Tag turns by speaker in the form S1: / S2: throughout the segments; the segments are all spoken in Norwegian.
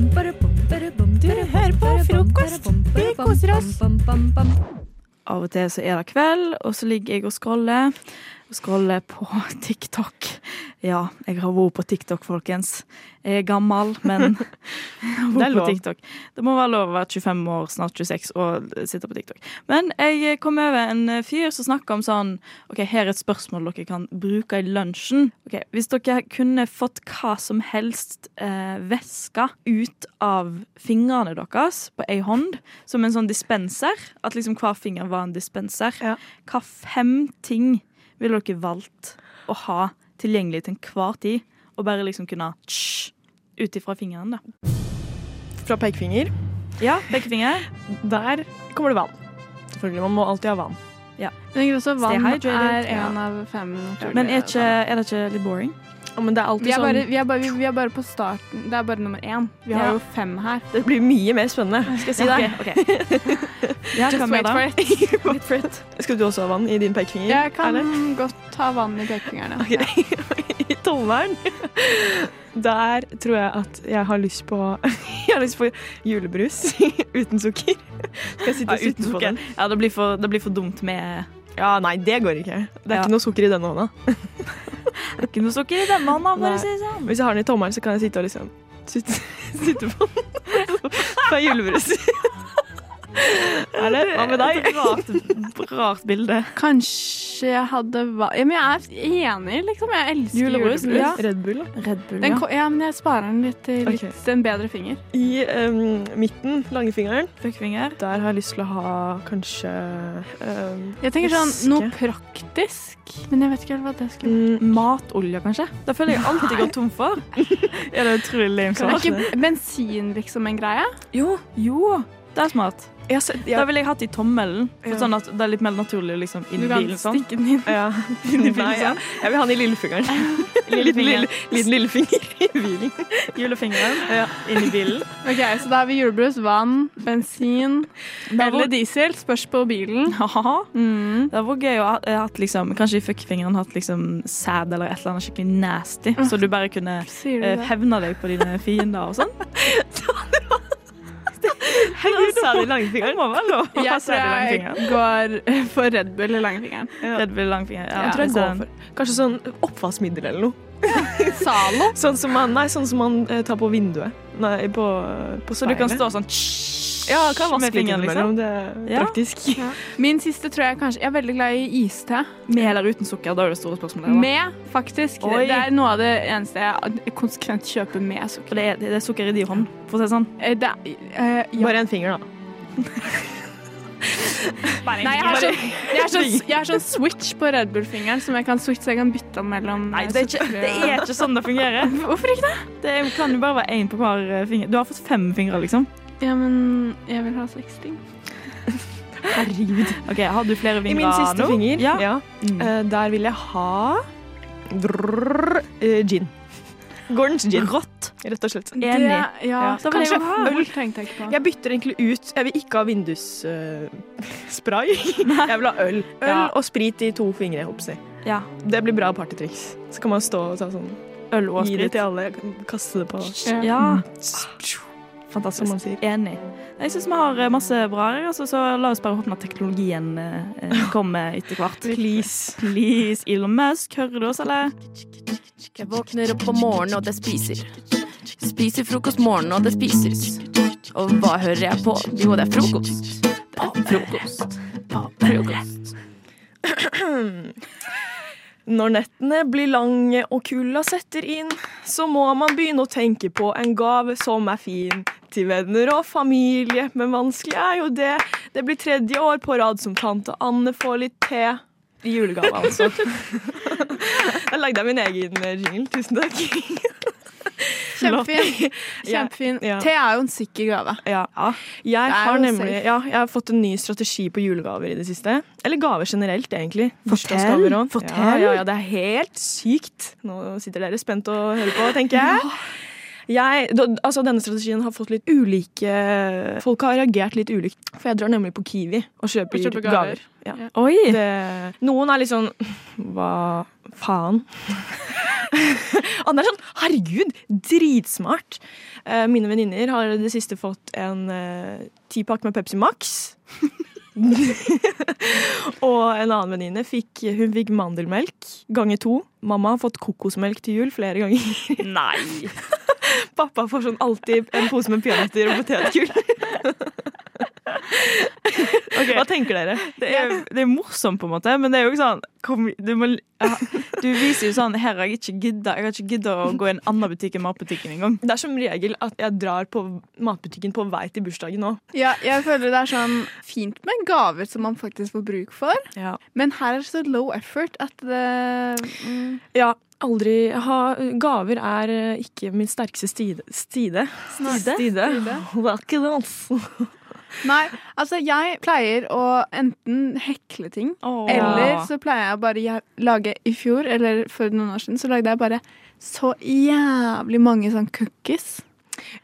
S1: Du hører på frokost. Vi koser oss.
S2: Av og til så er det kveld, og så ligger jeg og scroller. Og scroller på TikTok. Ja, jeg har vært på TikTok, folkens. Jeg er gammel, men jeg har
S3: Det er
S2: vært på
S3: lov.
S2: TikTok. Det må være lov å være 25 år, snart 26, og sitte på TikTok. Men jeg eh, kom over en fyr som snakka om sånn OK, her er et spørsmål dere kan bruke i lunsjen. Ok, Hvis dere kunne fått hva som helst eh, væske ut av fingrene deres på ei hånd, som en sånn dispenser, at liksom hver finger var en dispenser,
S3: Ja.
S2: hva fem ting ville dere valgt å ha tilgjengelig til enhver tid, og bare liksom kunne tsch, ut ifra fingeren, da?
S3: Fra pekefinger.
S2: Ja, begge fingre.
S3: Der kommer det vann. Selvfølgelig, Man må alltid ha vann.
S4: Jeg tenker også vann
S2: Stay hydrated.
S4: er en av fem naturlige
S2: Men er, ikke, er det ikke litt boring?
S3: Ja, Men det er alltid
S4: vi er, bare,
S3: sånn
S4: vi, er bare, vi er bare på starten. Det er bare nummer én. Vi har
S2: Ja.
S4: jo fem her.
S3: Det blir mye mer spennende. Skal jeg si deg.
S2: Ok, ok. Ja, hva
S4: Just
S2: med
S4: wait
S2: da?
S4: for it.
S2: Wait for it.
S3: Skal du også ha vann i din pekefinger?
S4: Jeg kan
S3: Erlend?
S4: godt ha vann i pekefingrene.
S3: Ok. I tommelen. Der tror jeg at jeg har lyst på Jeg har lyst på julebrus uten sukker. Skal jeg
S2: Ja,
S3: sitte
S2: uten
S3: og sutte på
S2: sukker.
S3: den?
S2: Ja, det blir, for, det blir for dumt med
S3: Ja, nei, det går ikke. Det er
S2: Ja.
S3: ikke noe sukker i denne hånda.
S2: Ikke noe sukker i denne hånda,
S3: Nei.
S2: for å si det sånn.
S3: Hvis jeg har den i tommelen, så kan jeg sitte og liksom sitte, sitte på den. Så er julebrus. Erlend, hva med deg?
S2: Et Rart, rart bilde.
S4: Kanskje jeg hadde vann Ja, men jeg er enig, liksom. Jeg elsker
S2: Julebrus,
S4: julebrus.
S2: ja.
S3: Red Bull. da.
S2: Red Bull,
S4: Den, ko- ja, men jeg sparer den litt til litt,
S3: Ok.
S4: en bedre finger.
S3: I em, midten, langfingeren,
S2: Fuckfinger.
S3: der har jeg lyst til å ha kanskje em,
S4: Jeg tenker sånn
S3: Huske.
S4: noe praktisk, men jeg vet ikke helt hva det skulle
S3: mm,
S2: Matolje, kanskje? Det føler jeg alltid går tom for. er det utrolig lame
S4: Er
S2: svar?
S4: ikke bensin liksom en greie?
S2: Jo, jo. Det er smart.
S3: jeg har sett- jeg-
S2: Da ville jeg hatt i tommelen. For
S3: Ja.
S2: sånn at Det er litt mer naturlig liksom,
S4: Du
S2: inni
S4: kan
S2: bilen. Sånn.
S4: stikke den inn.
S3: Ja. Nei, ja. Jeg vil ha den i lillefingeren.
S2: Lillefinger.
S3: Lille- lille- lillefinger i bilen.
S2: Julefingeren inni bilen.
S4: Ok, Så da har vi julebrus, vann, bensin eller diesel. Spørs på bilen.
S2: Haha.
S4: Mm.
S2: Det hadde vært gøy å ha eh, hatt liksom, kanskje i fuckfingeren hatt liksom sæd eller et eller annet skikkelig nasty, så du bare kunne
S4: Sier du
S2: eh,
S4: det?
S2: hevne deg på dine fiender og sånn.
S3: Herregud, sa de langfingeren?
S2: må være lov å ha
S4: Jeg tror
S2: sæd i langfingeren.
S4: jeg går eh, for Red Bull i langfingeren.
S3: Ja.
S2: Red Bull langfinger. Ja,
S3: Jeg tror jeg
S2: så
S3: går
S2: den-
S3: for kanskje sånn oppvaskmiddel eller noe.
S4: Zalo.
S3: Sånn som man, nei, sånn som man eh, tar på vinduet. Nei, på, på
S2: Så du kan
S3: speilet.
S2: stå sånn
S3: Ja, kan vaske
S2: med
S3: litt
S2: fingeren, liksom.
S3: innimellom. Det er
S2: Ja.
S3: praktisk.
S4: Min siste tror jeg kanskje Jeg er veldig glad i iste.
S2: Med eller uten sukker, da er det store spørsmålet. da.
S4: Med, faktisk.
S2: Oi.
S4: Det er noe av det eneste jeg konsekvent kjøper med
S2: For
S4: sukker.
S2: det er, det er sukker i din hånd, for å si det sånn.
S4: Eh, Det, er- eh, ja.
S3: Bare en finger, da.
S4: Nei, jeg har sånn, jeg har sånn, jeg har sånn switch på Red Bull-fingeren som jeg kan switche så jeg kan bytte den mellom eh,
S2: Nei, det er, ikke, det er ikke sånn det fungerer.
S4: Hvorfor ikke det?
S2: Det er- kan jo bare være én på hver eh, finger. Du har fått fem fingre, liksom.
S4: Ja, men jeg vil ha seks ting.
S3: Herregud.
S2: Ok, Har du flere
S3: I
S2: fingre
S3: min siste
S2: nå?
S3: finger,
S2: Ja.
S3: ja,
S2: Mm.
S3: eh, der vil jeg ha drrrr, eh, gin. Gordons gin,
S2: Rått.
S3: rett og slett.
S2: Enig.
S4: Det, ja,
S2: Ja. Da vil
S4: Kanskje
S2: jeg ha-
S4: øl tenkte jeg ikke på.
S3: Jeg bytter egentlig ut Jeg vil ikke ha vindusspray. jeg vil ha øl. Øl
S2: Ja.
S3: og sprit i to fingre. Hoppsi.
S2: Ja.
S3: Det blir bra partytriks. Så kan man stå og ta sånn,
S2: Øl og
S3: gi det
S2: sprit.
S3: til alle. Jeg kan Kaste det på
S4: Ja.
S2: Ja.
S3: Som man
S2: Fantastisk.
S3: sier.
S2: Enig. Jeg syns vi har eh, masse bra her, altså, så la oss bare håpe at teknologien eh, eh, kommer etter hvert.
S3: Please.
S2: Please, Elon Musk, hører du oss, eller?
S5: Jeg våkner opp om morgenen, og det spiser. Spiser frokost morgenen, og det spises. Og hva hører jeg på? Jo, det er frokost. Det er frokost. Frokost.
S3: Når nettene blir lange og kulda setter inn, så må man begynne å tenke på en gave som er fin. Til venner og familie, men vanskelig er jo det. Det blir tredje år på rad som tante Anne får litt te. I julegave, altså. Jeg lagde jeg min egen jingle. Tusen takk.
S4: Kjempefin. Kjempefin.
S3: Ja.
S4: Te er jo en sikker gave.
S3: Ja.
S4: Det
S3: Jeg
S4: er
S3: har
S4: jo
S3: nemlig
S4: safe.
S3: ja, jeg har fått en ny strategi på julegaver i det siste. Eller gaver generelt, egentlig.
S2: Fortell,
S3: Bursdagsgaver også.
S2: fortell.
S3: Ja, ja, ja, det er helt sykt. Nå sitter dere spent og hører på, tenker jeg.
S6: Jeg, da- altså Denne strategien har fått litt ulike Folk har reagert litt ulikt. For jeg drar nemlig på Kiwi og kjøper,
S7: Og kjøper gaver.
S6: gaver. Ja.
S2: Oi!
S6: Det, noen er litt sånn Hva faen? Andre er sånn Herregud, dritsmart! Eh, Mine venninner har i det siste fått en eh, tipakk med Pepsi Max. og en annen venninne fikk, hun fikk mandelmelk ganger to. Mamma har fått kokosmelk til jul flere ganger.
S2: Nei!
S6: Pappa får sånn alltid en pose med peanøtter og potetgull.
S2: Ok.
S6: Hva tenker dere?
S2: Det er, det er morsomt, på en måte, men det er jo ikke sånn kom, du, må, ja, du viser jo sånn Her har jeg ikke gidda Jeg har ikke gidda å gå i en annen butikk enn matbutikken engang.
S6: Det er som regel at jeg drar på matbutikken på vei til bursdagen nå.
S7: Ja, jeg føler det er sånn fint med gaver som man faktisk får bruk for,
S6: Ja.
S7: men her er det så low effort at det mm,
S6: ja aldri ha Gaver er eh, ikke min sterkeste stide. Stide? Stide? Stide.
S7: Nei, altså jeg pleier å enten hekle ting,
S2: Åh.
S7: eller så pleier jeg å bare jeg- lage I fjor, eller for noen år siden, så lagde jeg bare så jævlig mange sånn cookies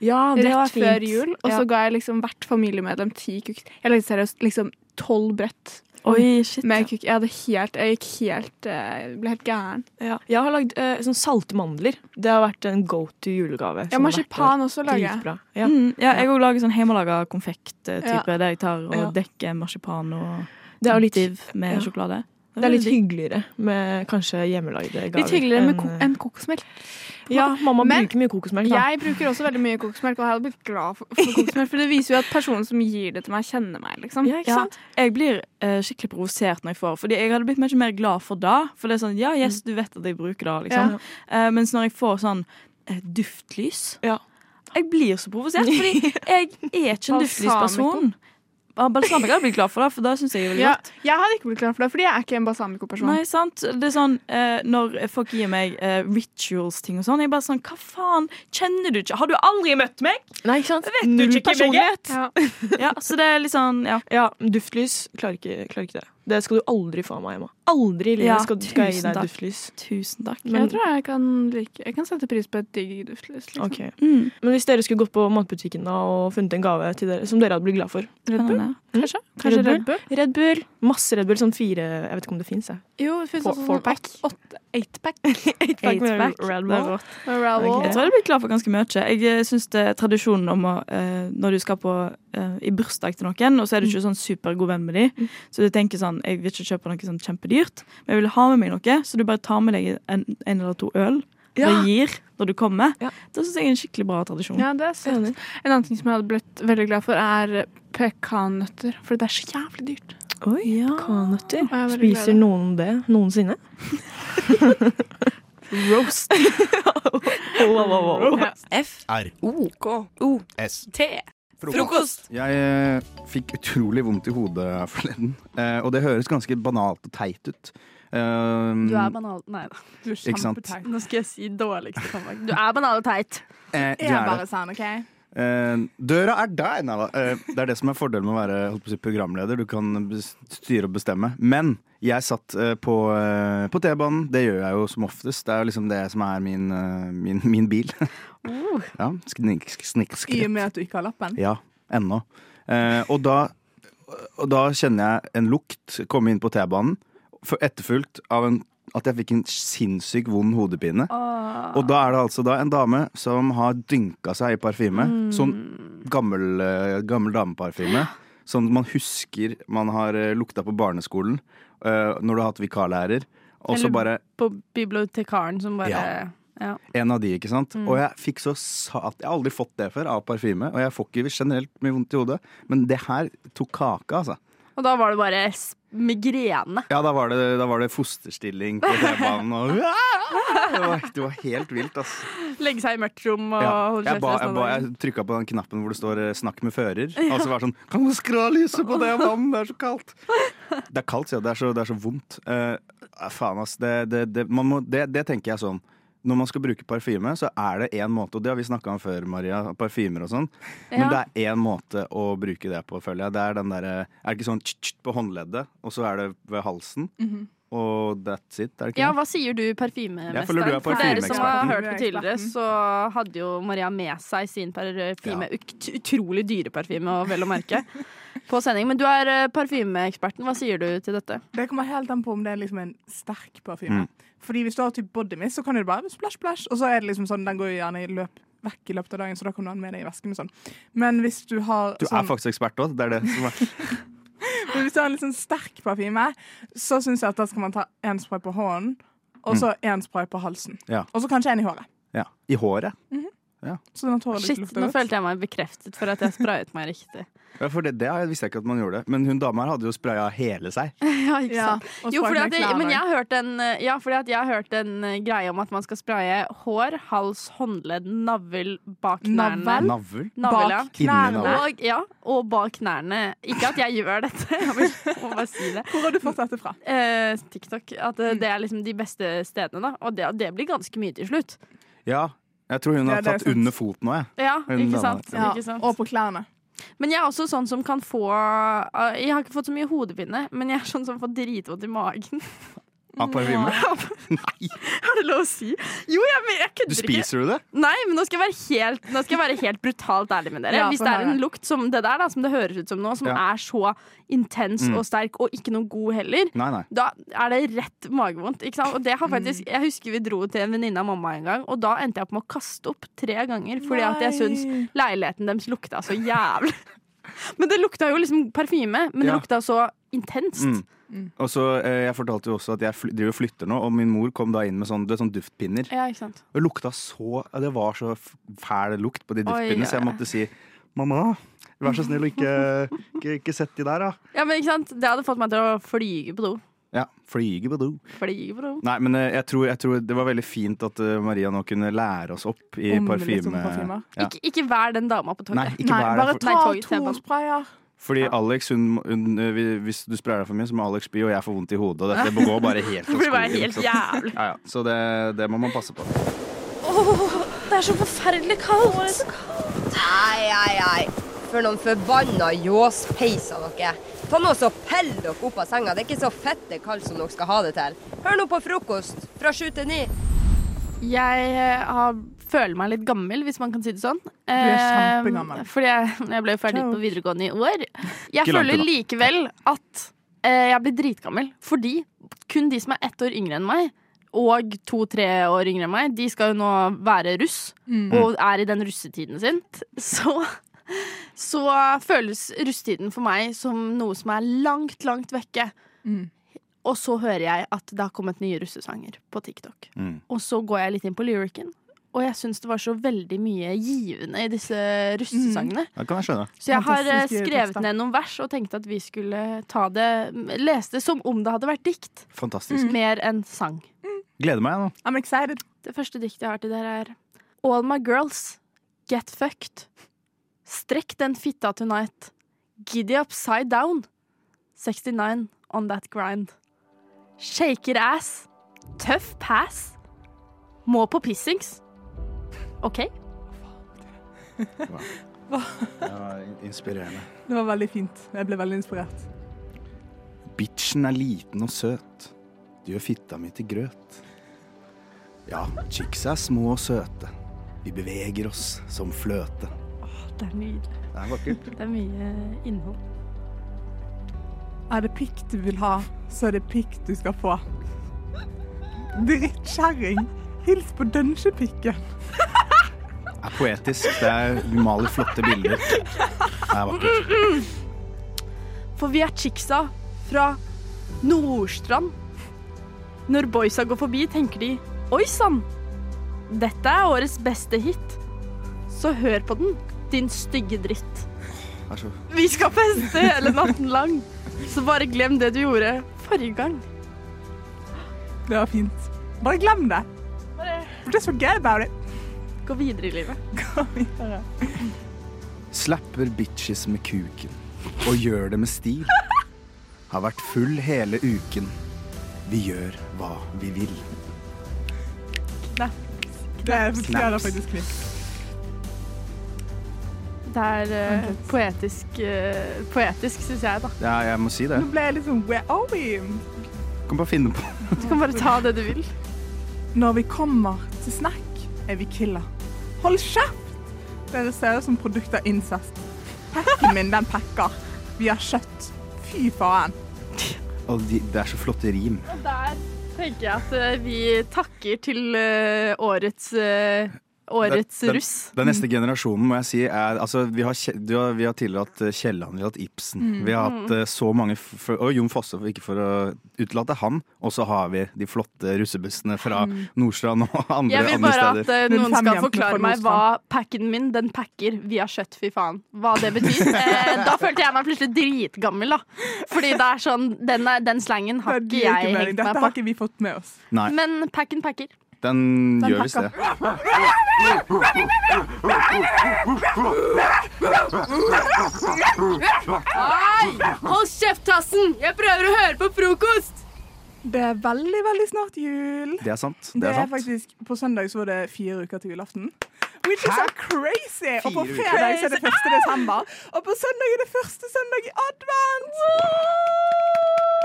S6: Ja, det var
S7: rett
S6: fint.
S7: før jul. Og så
S6: Ja.
S7: ga jeg liksom hvert familiemedlem ti cookies. Jeg lagde seriøst liksom tolv brett
S2: Oi, shit.
S7: med cookies. Jeg hadde helt Jeg gikk helt eh, Ble helt gæren.
S6: ja. Jeg har lagd eh, sånn salte mandler. Det har vært en go to julegave.
S7: Ja,
S6: sånn hvert år.
S7: marsipan også lager jeg.
S6: Dritbra. Ja.
S2: Mm, ja, jeg òg lager sånn hjemmelaga konfekt-type, der jeg tar og
S6: Ja.
S2: dekker marsipan og
S6: Det er jo litt,
S2: div med
S6: ja.
S2: sjokolade.
S6: det er litt hyggeligere med kanskje hjemmelagde gaver.
S7: Litt hyggeligere med
S6: enn,
S7: ko
S6: eh,
S7: enn kokosmelk.
S6: Ja, mamma
S7: Men-
S6: bruker mye kokosmelk. da.
S7: Jeg bruker også veldig mye kokosmelk, og jeg hadde blitt glad for, for kokosmelk. For det viser jo at personen som gir det til meg, kjenner meg, liksom.
S6: Ja, ikke
S2: Ja,
S6: sant?
S2: jeg blir eh, skikkelig provosert når jeg får Fordi jeg hadde blitt mye mer glad for det. For det er sånn, ja,
S6: Mm.
S2: yes, du vet at jeg bruker det, liksom.
S7: Ja.
S2: Eh, mens når jeg får sånn eh, duftlys
S6: Ja.
S2: Jeg blir så provosert, fordi jeg er ikke en duftlysperson. Ja, balsamico hadde jeg blitt glad for, det, for det syns jeg er veldig
S7: Ja,
S2: godt.
S7: jeg hadde ikke blitt glad for det, fordi jeg er ikke en balsamico-person.
S2: Nei, sant? Det er sånn, eh, Når folk gir meg eh, rituals-ting og sånn, jeg er bare sånn Hva faen? Kjenner du ikke? Har du aldri møtt meg?
S6: Nei, ikke sant?
S2: du
S6: Null
S2: ikke, Birgit?
S6: personlighet.
S7: Ja.
S2: Ja, så det er litt sånn, ja.
S6: Ja, duftlys. Klarer ikke, klarer ikke det. Det skal du aldri få av meg, Emma. Aldri i livet
S2: Ja,
S6: skal, skal jeg gi
S2: tusen
S6: deg
S2: takk.
S6: duftlys.
S2: Tusen takk.
S6: Men,
S7: jeg tror jeg kan like Jeg kan sette pris på et digg duftlys. Liksom.
S6: ok.
S2: Mm,
S6: men hvis dere skulle gått på matbutikken da og funnet en gave til dere som dere hadde blitt glad for
S7: Red Bull?
S2: spennende.
S7: Kanskje? Kanskje
S6: Red
S7: Red Bull?
S6: Red Bull. Masse Red Bull. Sånn fire Jeg vet ikke om det fins, jeg.
S7: Jo, det fins
S6: Four-
S7: også
S6: four
S7: sånn
S6: pack.
S7: åt- åtte- Eightpack.
S6: Takk for Red
S2: Eightpack. Det er
S6: Bull.
S2: rått.
S7: med Raoul.
S6: Ok.
S2: Jeg tror jeg hadde blitt glad for ganske mye. Jeg eh, syns tradisjonen om å eh, Når du skal på eh, i bursdag til noen, og så er du ikke sånn supergod venn med dem, så du tenker sånn Jeg vil ikke kjøpe noe sånn kjempedyrt, men jeg vil ha med meg noe, så du bare tar med deg en, en eller to øl
S6: Ja.
S2: og gir når du kommer.
S6: Ja.
S2: Det syns jeg er en skikkelig bra tradisjon.
S7: Ja, det er søtt.
S6: Enig.
S7: En annen ting som jeg hadde blitt veldig glad for, er pekannøtter. For det er så jævlig dyrt.
S6: Oi, pekanøtter.
S7: Ja, jeg er veldig glad i
S6: Spiser
S7: det.
S6: noen det noensinne? Roast. wow, wow, wow.
S8: F-R-O-K-O-S-T.
S9: Frokost!
S10: Jeg eh, fikk utrolig vondt i hodet forleden. Eh, og det høres ganske banalt og teit ut. Eh,
S4: Du er banal... Nei da. Du er
S10: Ikke sant?
S4: kjempeteit. Nå skal jeg si dårligste comeback. Du er banal og teit.
S10: eh, du
S4: Jeg
S10: er det.
S4: bare sa han, OK?
S10: Eh, døra er der! Nei da. Eh, det er det som er fordelen med å være holdt på å si, programleder. Du kan bes- styre og bestemme. Men jeg satt eh, på, eh, på T-banen. Det gjør jeg jo som oftest. Det er jo liksom det som er min, eh, min, min bil.
S4: Uh.
S10: ja, snik, snik,
S4: I
S10: skritt.
S4: og med at du ikke har lappen.
S10: Ja, ennå. Eh, og, da, og da kjenner jeg en lukt komme inn på T-banen, for- etterfulgt av en, at jeg fikk en sinnssykt vond hodepine.
S4: Ah.
S10: Og da er det altså da en dame som har dynka seg i
S4: Mm.
S10: parfyme. Sånn gammel, eh, gammel dameparfyme. Sånn man husker man har eh, lukta på barneskolen eh, når du har hatt vikarlærer. Og så
S4: Eller-
S10: bare
S4: På bibliotekaren som bare
S10: Ja. en av de, ikke sant? Og jeg fikk så sat Jeg har aldri fått det før av parfyme, og jeg får ikke generelt mye vondt i hodet, men det her tok kaka, altså.
S4: Og da var det bare s- migrene.
S10: Ja, da var det, da var det fosterstilling på T-banen og det var, det var helt vilt, ass.
S4: Legge seg i mørkt rom og
S10: Ja.
S4: holde
S10: Jeg,
S4: kjeft
S10: ba, jeg,
S4: resten
S10: ba,
S4: av dagen.
S10: jeg trykka på den knappen hvor det står eh, 'snakk med fører', og så var det sånn 'kan du skru av lyset på det vannet, det er så kaldt'? Det er kaldt, sier jeg. Det er så, det er så vondt. Eh, ah, faen, ass. Det, det, det, man må, det, det tenker jeg sånn. Når man skal bruke parfyme, så er det én måte, og det har vi snakka om før, Maria, parfymer og sånn, men
S4: Ja.
S10: det er én måte å bruke det på, føler jeg. Det er den derre Er det ikke sånn tsk, tsk, på håndleddet, og så er det ved halsen? og that's it, er det ikke
S4: Mhm. Ja,
S10: det?
S4: hva sier du parfymemesteren?
S10: Jeg føler du er
S4: For dere som
S10: parfymeekspert.
S4: har hørt på tidligere, så hadde jo Maria med seg sin parfyme, ut- utrolig dyre parfyme, og vel å merke, på sending. Men du er eh, parfymeeksperten. Hva sier du til dette?
S8: Det kommer helt an på om det er liksom en sterk parfyme.
S10: Mm.
S8: Fordi hvis du har typ body mist, så kan du bare splash, splash, og så er det liksom sånn, den går jo gjerne i løp vekk i løpet av dagen, så da kan du ha den med deg i vesken og sånn. Men hvis du har
S10: Du er
S8: sånn,
S10: faktisk ekspert òg. Det er det som er
S8: men hvis du har en litt sånn sterk parfyme, så syns jeg at da skal man ta én spray på hånden, og så én spray på halsen.
S10: Mm. Ja.
S8: Og så kanskje én i håret.
S10: ja. I håret.
S8: Så den tåler
S4: Shit,
S8: litt
S4: nå
S8: luft.
S4: følte jeg meg bekreftet for at jeg sprayet meg riktig.
S10: Ja, for det, det har jeg- visste jeg ikke at man gjorde. Men hun dama her hadde jo spraya hele seg.
S4: Ja, ikke
S8: Ja,
S4: sant?
S8: og
S4: Jo,
S8: spray
S4: fordi
S8: med
S4: at jeg,
S8: knærne.
S4: men jeg har hørt en, eh, ja, fordi at jeg har hørt en eh, greie om at man skal spraye hår, hals, håndledd, navl, bak knærne.
S8: Navl?
S10: Navl?
S4: Navl, ja.
S8: Bak knærne.
S10: Navl.
S4: Og, ja, og bak knærne. Ikke at jeg gjør dette, jeg vil må bare si det.
S8: Hvor har du fått dette fra?
S4: Eh, TikTok. At eh, det er liksom de beste stedene, da. Og det, det blir ganske mye til slutt.
S10: Ja. Jeg tror hun
S8: Ja,
S10: har
S8: det er
S10: tatt
S8: sant.
S10: under foten òg, jeg.
S4: Ja,
S10: Hun
S4: ikke
S10: dama.
S4: sant?
S8: Ja,
S4: Ikke sant?
S8: og på klærne.
S4: Men jeg er også sånn som kan få eh, Jeg har ikke fått så mye hodepine, men jeg er sånn som får dritvondt i magen.
S10: Av parfyme. Nei!
S4: Er det lov å si? Jo, jeg, men jeg
S10: Du
S4: kødder ikke.
S10: spiser du det?
S4: Nei, men nå skal jeg være helt, nå skal jeg være helt brutalt ærlig med dere.
S8: Ja,
S4: Hvis
S8: få
S4: det er
S8: høre.
S4: en lukt som det der, da, som det høres ut som nå, som
S10: Ja.
S4: er så intens og sterk, og ikke noe god heller,
S10: Mm. Nei, nei.
S4: da er det rett magevondt. Ikke sant? Og det har
S8: Mm.
S4: faktisk, jeg husker vi dro til en venninne av mamma en gang, og da endte jeg opp med å kaste opp tre ganger fordi at jeg
S8: Nei.
S4: syns leiligheten deres lukta så jævlig. Men det lukta jo liksom parfyme, men det
S10: Ja.
S4: lukta så intenst.
S10: Mm. Og så, eh, Jeg fortalte jo også at jeg fly, driver og flytter nå, og min mor kom da inn med sånn, du vet, sånn duftpinner.
S4: Ja, ikke sant?
S10: Og lukta så, ja, Det var så f- fæl lukt på
S4: Oi,
S10: de duftpinnene,
S4: ja,
S10: så jeg
S4: ja.
S10: måtte si mamma, vær så snill å ikke, ikke, ikke sett de der, da.
S4: Ja, men ikke sant? Det hadde fått meg til å flyge på do.
S10: Ja, flyge på do.
S4: Flyge på do.
S10: Nei, men eh, jeg tror, jeg tror det var veldig fint at eh, Maria nå kunne lære oss opp i
S8: Om litt om
S10: parfyme.
S8: parfymer.
S10: Ja.
S4: liksom Ikke, ikke vær den dama på toget.
S10: Nei, ikke
S8: Nei,
S10: vær det.
S8: bare
S10: For,
S8: ta
S4: Nei, tog-
S8: to
S4: T-banen.
S8: sprayer.
S10: fordi Alex, hun, hun, eh, vi- hvis du sprayer deg for mye, så må Alex spy, og jeg får vondt i hodet. Og dette går bare helt
S4: Det
S10: av
S4: blir bare
S10: skogen,
S4: helt
S10: så-
S4: jævlig.
S10: Ja, ja. Så det, det må man passe på.
S9: Det er så forferdelig kaldt.
S11: Ei, ei, ei. For noen forbanna ljåspeiser dere. Ta nå så Pell dere opp av senga. Det er ikke så fette kaldt som dere skal ha det til. Hør nå på frokost fra sju til ni.
S4: Jeg eh, har, føler meg litt gammel, hvis man kan si det sånn.
S8: kjempegammel.
S4: Eh, Fordi jeg, jeg ble jo ferdig på videregående i år. Jeg
S10: Ikke langt
S4: føler
S10: unna.
S4: likevel at eh, jeg blir dritgammel. Fordi kun de som er ett år yngre enn meg, og to-tre år yngre enn meg, de skal jo nå være russ.
S10: Mm.
S8: Mm.
S4: Og er i den russetiden sin. Så så føles russetiden for meg som noe som er langt, langt vekke.
S8: Mm.
S4: Og så hører jeg at det har kommet nye russesanger på TikTok.
S10: Mm.
S4: Og så går jeg litt inn på lyricen, og jeg syns det var så veldig mye givende i disse russesangene.
S10: Det kan jeg skjønne.
S4: Så jeg har eh,
S8: Fantastiske
S4: skrevet
S8: tekster.
S4: ned noen vers og tenkte at vi skulle ta det lese det som om det hadde vært dikt,
S10: Fantastisk.
S4: mer enn sang.
S10: Gleder meg nå.
S8: I'm excited.
S4: Det første diktet jeg har til dere er All my girls, get fucked. Strekk den fitta tonight. Giddy upside down. 69 on that grind. Shaker ass. Tough pass. Må på pissings. OK?
S10: inspirerende.
S8: Det var veldig fint. Jeg ble veldig inspirert.
S10: Bitchen er liten og søt. Du gjør fitta mi til grøt. Ja, chicks er små og søte. Vi beveger oss som fløte.
S4: Det er nydelig.
S10: Det er vakkert.
S4: Det er mye innhold.
S8: Er det pikk du vil ha, så er det pikk du skal få. Drittkjerring. Hils på dønsjepikken.
S10: Det er poetisk. Det er, vi maler flotte bilder. Det er vakkert.
S4: For vi er chicksa fra Nordstrand. Når boysa går forbi, tenker de Oi sann! Dette er årets beste hit. Så hør på den, din stygge dritt.
S10: Det er så
S4: Vi skal feste hele natten lang, så bare glem det du gjorde forrige gang.
S8: Det var fint. Bare glem det. Just forget about it.
S4: Gå videre i livet.
S8: Gå videre.
S10: Slapper bitches med kuken og gjør det med stil. Har vært full hele uken. Vi gjør hva vi vil.
S8: Det fortjener faktisk knipp.
S4: Det er eh, poetisk, uh, poetisk syns jeg, da.
S10: Ja, jeg må si det.
S8: Nå ble jeg litt sånn where are we?
S10: Kan bare finne på
S4: Du kan bare ta det du vil.
S8: Når vi kommer til snack, er vi killer. Hold kjeft! Dere ser ut som produkter av incest. Packen min, den pakker. Vi har kjøtt. Fy faen.
S10: Å, de, Det er så flotte rim.
S4: Og der tenker jeg at eh, vi takker til eh, årets eh, Årets
S10: Den- den-
S4: russ.
S10: Den neste generasjonen må jeg si er altså, vi, har, Kje- du har, vi har tidligere hatt eh, Kielland, vi har hatt Ibsen. Vi har hatt eh, så mange f- for, Og Jon Fosse, for ikke for å utelate han. Og så har vi de flotte russebussene fra
S3: Mm.
S10: Nordstrand og andre,
S4: Jeg vil
S10: andre
S4: bare at
S10: steder.
S4: eh, noen skal
S8: 05-jentene
S4: forklare
S8: fra
S4: meg hva packen min, den pakker via kjøtt, fy faen. Hva det betyr. Eh, da følte jeg meg plutselig dritgammel, da. Fordi det er sånn, den, er, den slangen har
S8: Det
S4: ikke
S8: gir
S4: jeg
S8: mening.
S4: hengt meg
S8: Dette har
S4: på.
S8: ikke vi fått med oss.
S10: Nei,
S4: Men packen pakker.
S10: den, gjør visst
S8: pakker.
S10: det.
S9: Hold kjeft, Tassen! Jeg prøver å høre på frokost!
S8: Det er veldig, veldig snart jul.
S10: Det er sant.
S8: Det
S10: Det er
S8: er
S10: sant.
S8: faktisk, På søndag så var det fire uker til julaften. Which is
S10: Hæ?
S8: so crazy! Og på
S10: Fire uker?
S8: fredag så er det 1. desember. Og på søndag er det første søndag i advent!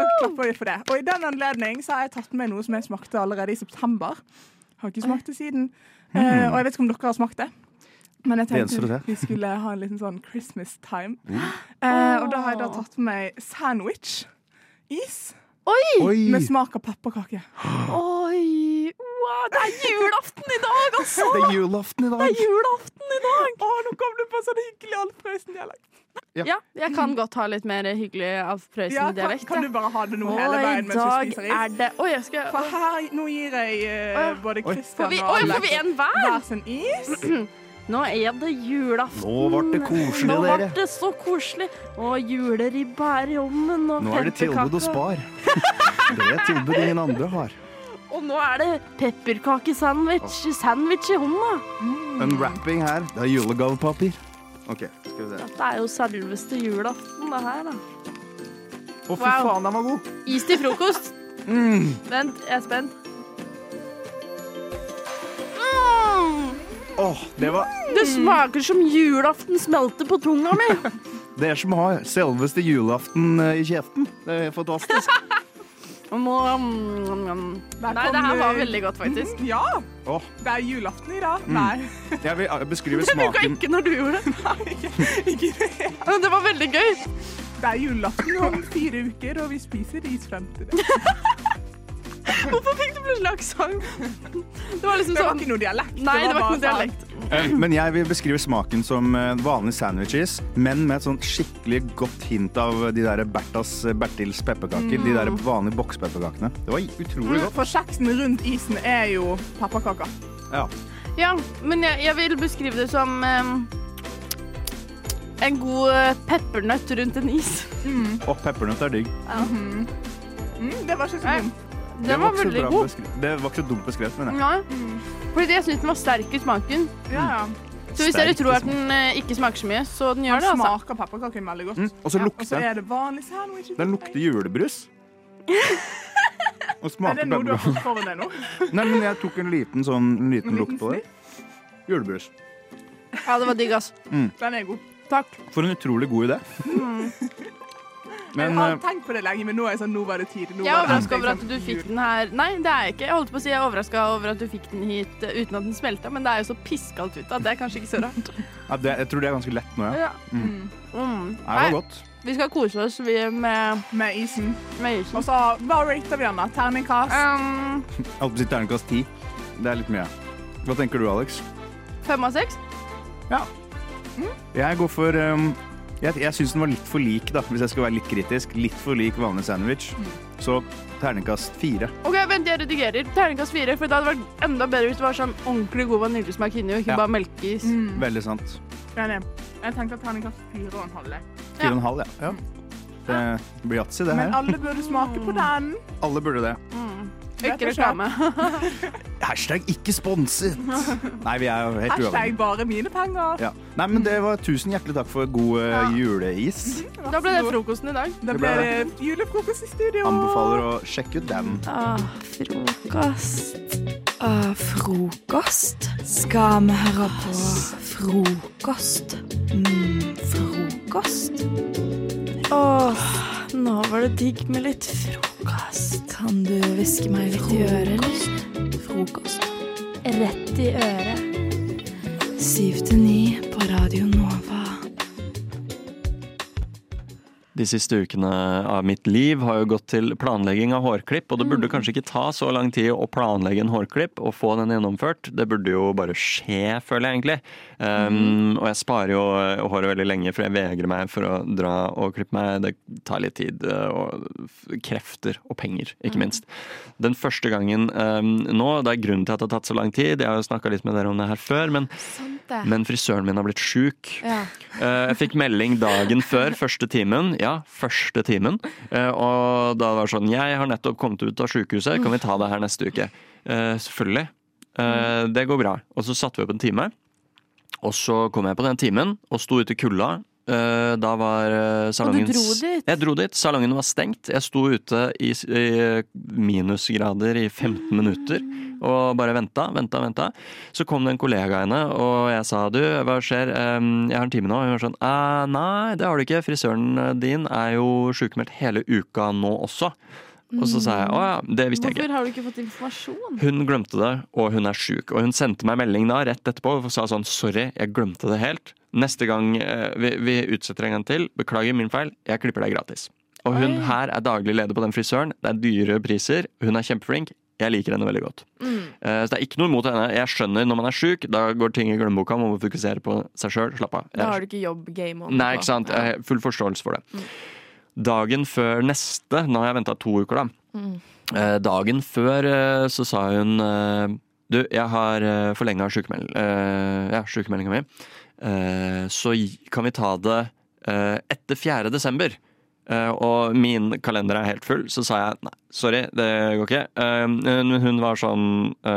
S8: Og klapper vi for det. Og i den anledning så har jeg tatt med noe som jeg smakte allerede i september. Har ikke smakt det siden. Eh, og jeg vet ikke om dere har smakt det. Men jeg
S10: Det Mm. gjenstår
S8: tenkte
S10: det. Mm.
S8: vi skulle ha en liten sånn Christmas time. Eh, og da har jeg da tatt med meg sandwich. Is
S10: Oi!
S8: med smak av pepperkake.
S4: Oi! Wow, det er julaften i dag, altså!
S10: Det er julaften i dag!
S4: Julaften i dag!
S8: Å, nå kom det på sånn hyggelig Alf Prøysen-dialekt.
S4: Ja, jeg kan godt ha litt mer hyggelig av
S8: Ja, kan,
S4: Prøysen-dialekt.
S8: kan du bare ha det nå hele
S4: Og i
S8: veien mens
S4: dag
S8: du spiser
S4: er
S8: is?
S4: det Oi, jeg skal
S8: For her, nå gir jeg eh, både
S10: Oi.
S4: Får
S8: Kristian
S4: vi,
S8: og
S4: oi, får vi
S8: Alex
S4: en hver?
S8: hver sin is.
S4: Nå er det julaften.
S10: Nå ble det koselig,
S4: Nå ble
S10: dere.
S4: det så koselig. Og juleribba er i ovnen, og
S10: Nå er det tilbud
S4: pepperkake.
S10: og spar. Det er et tilbud ingen andre har.
S4: Og nå er det pepperkakesandwich. Sandwich i hånda.
S10: Unwrapping her. Det er julegavepapir. OK, skal vi se.
S4: Det er jo selveste julaften, det her, da.
S10: Å, fy
S4: Wow.
S10: faen, den var god!
S4: Is til frokost. Vent, jeg er spent.
S10: Åh, det var
S4: Det smaker som julaften smelter på tunga mi.
S10: Det er som å ha selveste julaften eh, i kjeften. Det er fantastisk.
S8: Der
S4: Nei,
S8: kom,
S4: det her var
S8: eh,
S4: veldig godt, faktisk.
S8: mm, Ja,
S10: Åh,
S8: det er julaften i dag.
S10: Mm.
S8: Nei,
S10: jeg vil eh, beskrive
S4: Det funka
S10: smaken
S4: ikke når du gjorde det.
S8: ikke det.
S4: Men det var veldig gøy.
S8: Det er julaften om fire uker, og vi spiser is frem til det.
S4: Hvorfor fikk du plutselig aksent? Det var liksom
S8: Det var
S4: sånn
S8: ikke noe dialekt.
S4: Nei, det var ikke noe
S8: bare sånn.
S4: dialekt.
S10: eh, Men jeg vil beskrive smaken som eh, vanlig sandwiches, men med et sånt skikkelig godt hint av de der Bertas, eh, Bertils pepperkaker. De
S4: Mm.
S10: der vanlige bokspepperkakene. Det var utrolig godt.
S8: sånn, For kjeksen rundt isen er jo pepperkaker.
S10: Ja.
S4: Ja, men jeg, jeg vil beskrive det som em, en god eh, peppernøtt rundt en is.
S10: Og peppernøtt er digg.
S8: Mm, det var ikke så
S4: Nei.
S8: dumt.
S4: Den var,
S10: ikke så
S4: veldig
S10: bra
S4: god.
S10: beskri- Det var ikke så dumt beskrevet, men jeg.
S4: Ja. Fordi jeg syns den var sterk i smaken.
S8: Ja, ja.
S4: Mm. Så hvis dere
S10: Sterk i
S4: tror at den eh, ikke smaker så mye, så den gjør det,
S8: Den
S4: altså.
S8: smaker pepperkaken veldig godt.
S10: Mm. Og så
S8: Ja, og
S10: lukter
S8: så
S10: den.
S8: er det vanlig sandwich.
S10: Den lukter julebrus. Og
S8: Er
S10: smaker
S8: det noe du har
S10: pepperkaker.
S8: fått foran deg nå?
S10: Nei, men jeg tok en liten sånn en liten
S8: En liten
S10: lukt på det. Julebrus.
S4: Ja, det var digg, ass.
S8: Den er god.
S4: Takk.
S10: For en utrolig god idé. Men
S8: jeg har
S10: eh,
S8: tenkt på det lenge, Mm. men nå er jeg sånn, nå var det tid. Nå
S4: Jeg er
S8: var det
S4: overraska over at
S8: liksom
S4: du fikk
S8: jul.
S4: den her Nei, det er jeg ikke. Jeg holdt på å si jeg er overraska over at du fikk den hit eh, uten at den smelta, men det er jo så pisskaldt ute at det er kanskje ikke så rart.
S10: ja, det, jeg tror det er ganske lett nå, ja.
S4: Ja. Mm.
S10: Nei, Det
S4: Nei,
S10: var godt.
S4: vi skal kose oss, vi, med,
S8: Med isen.
S4: med isen.
S8: Og så hva rater vi den, da? Terningkast?
S4: Um,
S10: Jeg holdt på å si terningkast ti. Det er litt mye. Hva tenker du, Alex?
S4: fem av seks?
S10: Jeg går for um, Jeg, jeg syns den var litt for lik, da, hvis jeg skal være litt kritisk. Litt for lik vanlig sandwich.
S8: Mm.
S10: Så terningkast fire.
S4: Ok, vent, jeg redigerer. Terningkast fire, for det hadde vært enda bedre hvis det var sånn ordentlig god vaniljesmak inni, og ikke
S10: Ja.
S4: bare melkeis.
S8: Mm.
S10: Veldig sant.
S8: Jeg jeg tenkte at terningkast fire og en halv. jeg. Mm.
S10: Fire og en halv, ja. Det blir yatzy, det
S8: Men
S10: her.
S8: alle burde smake på den.
S10: Alle burde det.
S4: Ikke reklame.
S10: Hashtag ikke sponset! Nei, vi er jo helt uavhengige.
S8: Hashtag bare mine penger.
S10: Ja. Nei, men det var tusen hjertelig takk for god eh, juleis.
S4: Da ble det frokosten i dag.
S8: Da
S10: Det
S8: ble
S10: ble
S8: det julefrokost i studio.
S10: Anbefaler å sjekke ut den.
S9: Ah, frokost.
S2: Eh,
S3: Ah, frokost? Skal vi høre på frokost? Mm, frokost?
S9: Nå var det digg med litt frokost.
S2: Kan du hviske meg litt i øret, eller? Frokost.
S4: Rett i øret.
S2: Syv til ni på Radio Nova.
S12: De siste ukene av mitt liv har jo gått til planlegging av hårklipp, og det burde kanskje ikke ta så lang tid å planlegge en hårklipp og få den gjennomført. Det burde jo bare skje, føler jeg egentlig. Um, og jeg sparer jo eh, håret veldig lenge, for jeg vegrer meg for å dra og klippe meg. Det tar litt tid eh, og f- krefter og penger, ikke minst. Den første gangen um, nå, det er grunnen til at det har tatt så lang tid, jeg har jo snakka litt med dere om det her før, men,
S4: Sant det.
S12: men frisøren min har blitt sjuk.
S4: Ja.
S12: Eh, Jeg fikk melding dagen før første timen. Ja, første timen. Eh, Og da var det sånn Jeg har nettopp kommet ut av sykehuset, kan vi ta det her neste uke? Eh, Selvfølgelig. Eh, Det går bra. Og så satte vi opp en time. Og så kom jeg på den timen og sto ute i kulda. Eh, Da var eh, salongen
S4: dro dit?
S12: Jeg dro dit. Salongen var stengt. Jeg sto ute i, s- i minusgrader i 15 minutter og bare venta, venta, venta. Så kom det en kollega av henne, og jeg sa du, hva skjer, Ehm, jeg har en time nå. Og hun var sånn, «Eh, nei, det har du ikke, frisøren din er jo sykemeldt hele uka nå også. Og så sa jeg, å ja, det visste jeg ikke.
S4: Hvorfor har du ikke fått informasjon?
S12: Hun glemte det, og hun er sjuk. Og hun sendte meg melding da, rett etterpå og sa sånn Sorry, jeg glemte det helt. Neste gang eh, vi, vi utsetter en gang til. Beklager min feil. Jeg klipper deg gratis. Og hun her er daglig leder på den frisøren. Det er dyre priser. Hun er kjempeflink. Jeg liker henne veldig godt. Eh, Så det er ikke noe imot henne. Jeg skjønner når man er sjuk, da går ting i glemmeboka. Man må fokusere på seg sjøl. Slapp av.
S4: Da
S12: Jeg
S4: har du ikke jobb-game on.
S12: Nei, ikke sant. Jeg har full forståelse for det. Dagen før neste, nå har jeg venta to uker, da. Eh, Dagen før eh, så sa hun eh, Du, jeg har forlenga sjukemel eh, ja, sjukemeldinga mi. Eh, Så gi- kan vi ta det eh, etter 4. desember. Eh, Og min kalender er helt full, så sa jeg nei, sorry, det går ikke. Eh, men Hun var sånn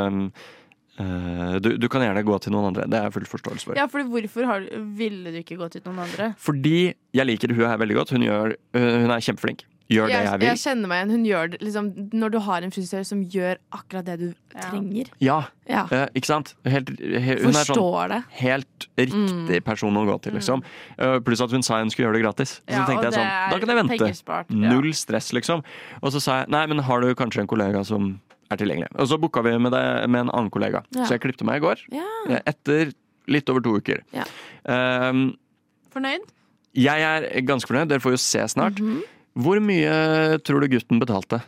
S12: eh, eh, du, du kan gjerne gå til noen andre. Det er jeg full forståelse for.
S4: Ja, for hvorfor har, du- ville du ikke gått ut noen andre?
S12: Fordi jeg liker hun her veldig godt. Hun, gjør, øh, hun er kjempeflink. Gjør det jeg vil.
S4: kjenner meg igjen. Hun gjør det, liksom, når du har en frisør som gjør akkurat det du trenger.
S12: Ja,
S4: Ja.
S12: eh, ikke sant? Helt, he, hun er sånn
S4: Forstår Mm. det.
S12: helt riktig person å gå til, liksom. Eh, Pluss at hun sa hun skulle gjøre det gratis. Så
S4: Ja,
S12: tenkte
S4: og
S12: jeg sånn,
S4: det er
S12: da kan jeg vente.
S4: penger spart, ja.
S12: Null stress, liksom. Og så sa jeg nei, men har du kanskje en kollega som er tilgjengelig? Og så booka vi med, det, med en annen kollega.
S4: Ja.
S12: Så jeg klipte meg i går.
S4: Ja.
S12: eh, Etter litt over to uker.
S4: Ja.
S12: Um,
S4: Fornøyd?
S12: Jeg er ganske fornøyd, dere får jo se snart.
S9: Mhm.
S12: Hvor mye tror du gutten betalte?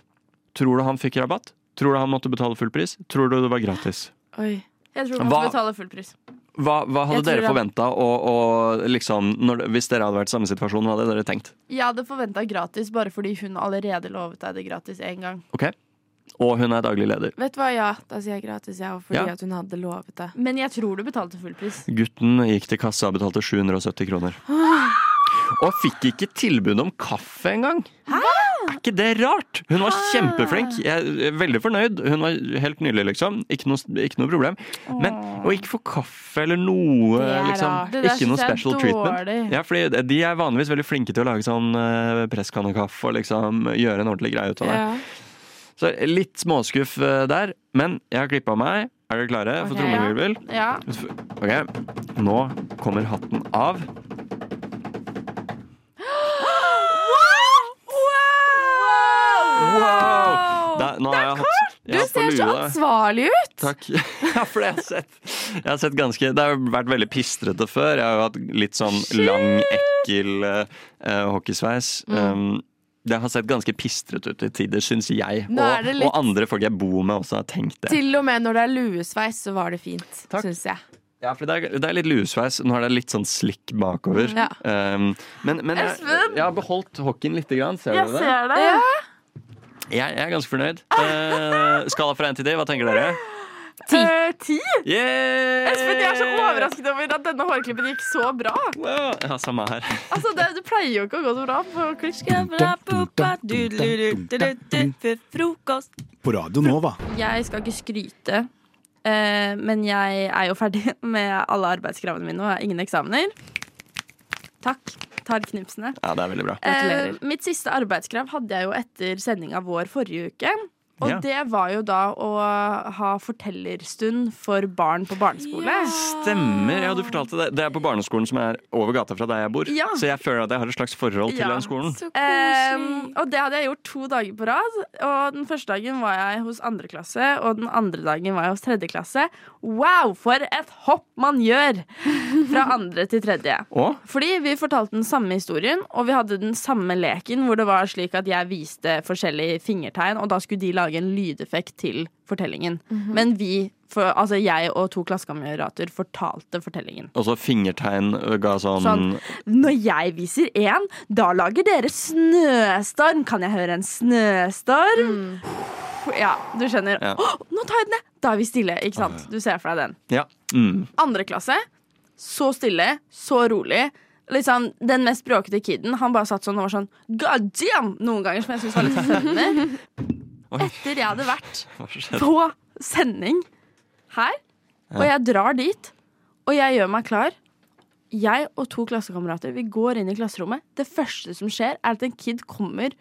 S12: Tror du han fikk rabatt? Tror du han måtte betale full pris? Tror du det var gratis?
S4: Oi. Jeg tror han
S12: han Hva-
S4: skal
S12: skal
S4: betale full pris.
S12: Hva, hva hadde
S4: Jeg tror
S12: dere
S4: han-
S12: forventa, og, og liksom, når, det- hvis dere hadde vært i samme situasjon, hva hadde dere tenkt?
S4: Jeg hadde forventa gratis bare fordi hun allerede lovet deg det gratis én gang.
S12: Ok? Og hun er daglig leder.
S9: Vet du hva, ja. Da sier jeg gratis, jeg. Fordi
S12: Ja.
S9: at hun hadde lovet det.
S4: Men jeg tror du betalte full pris.
S12: Gutten gikk til kassa og betalte 770 kroner. Og fikk ikke tilbud om kaffe engang! Er ikke det rart? Hun
S4: Ah.
S12: var kjempeflink. Jeg er veldig fornøyd. Hun var helt nydelig, liksom. Ikke noe, ikke noe problem. Men å ikke få kaffe eller noe,
S4: Det er rart.
S12: liksom.
S4: Det der
S12: Ikke
S4: synes
S12: noe
S4: jeg er
S12: special treatment.
S4: dårlig.
S12: Ja, fordi de er vanligvis veldig flinke til å lage sånn eh, presskannekaffe og liksom gjøre en ordentlig greie ut av det. Så litt småskuff eh, der. Men jeg har klippa meg. Er dere klare for
S4: Ok,
S12: trommevirvel?
S4: Ja.
S12: Ok, nå kommer hatten av. Wow! Da, nå har jeg hatt, jeg har hatt på lue.
S9: Svarlig ut!
S12: Takk. Ja, for det har jeg sett. Jeg har sett ganske, det har jo vært veldig pistrete før. Jeg har jo hatt litt sånn lang, ekkel eh, eh, hockeysveis.
S9: Mm.
S12: Um, det har sett ganske pistrete ut til tider, syns jeg.
S9: Nå er
S12: Og,
S9: det litt-
S12: og andre folk jeg bor med, også har tenkt det.
S9: Til og med når det er luesveis, så var det fint,
S12: Takk.
S9: syns jeg.
S12: Ja, for det er, det er litt luesveis. Nå er det litt sånn slikk bakover.
S9: Ja.
S12: Um, men men jeg, jeg har beholdt hockeyen lite grann. Ser
S4: Jeg
S12: du det?
S4: ser det.
S12: Jeg, jeg er ganske fornøyd. Eh, skala fra 1 til 10, hva tenker dere?
S4: Eh, Ti? Eh.
S12: Yeah!
S4: Espen, jeg er så overrasket over at denne hårklippen gikk så bra.
S12: Wow. Ja, samme her.
S4: Altså, det, det pleier jo ikke å gå så bra på klipp.
S2: Frokost.
S10: På Radio Nova.
S4: Jeg skal ikke skryte, eh, men jeg er jo ferdig med alle arbeidskravene mine og har ingen eksamener. Takk. Tar knipsene.
S12: Ja, det er veldig bra.
S4: Eh, mitt siste arbeidskrav hadde jeg jo etter sendinga vår forrige uke. Og
S12: Ja.
S4: det var jo da å ha fortellerstund for barn på barneskole.
S12: Stemmer. Ja, du fortalte det. Det er på barneskolen som er over gata fra der jeg bor.
S4: Ja.
S12: Så jeg føler at jeg har et slags forhold til
S4: Ja.
S12: den skolen.
S4: Ehm, og det hadde jeg gjort to dager på rad. Og den første dagen var jeg hos andre klasse, og den andre dagen var jeg hos tredje klasse. Wow, for et hopp man gjør! Fra andre til tredje.
S12: Og
S4: Fordi vi fortalte den samme historien, og vi hadde den samme leken hvor det var slik at jeg viste forskjellige fingertegn, og da skulle de lage en lydeffekt til fortellingen. Men vi, for, altså jeg og to klassekamerater, fortalte fortellingen.
S12: og så fingertegn ø, ga sånn,
S4: Sånn. Når jeg viser én, da lager dere snøstorm. Kan jeg høre en snøstorm? Mm. Ja, du skjønner.
S12: Ja. Ah,
S4: Å, nå tar jeg den ned! Da er vi stille, ikke sant? Du ser for deg den
S12: Ja. Mm.
S4: andre klasse, så stille, så rolig. Liksom, den mest bråkete kiden han bare satt sånn og var sånn God damn! Noen ganger, som jeg syntes var litt spennende.
S12: Oi.
S4: Etter jeg hadde vært
S12: Hva skjedde?
S4: på sending her, og jeg drar dit, og jeg gjør meg klar. Jeg og to klassekamerater vi går inn i klasserommet. Det første som skjer, er at en kid kommer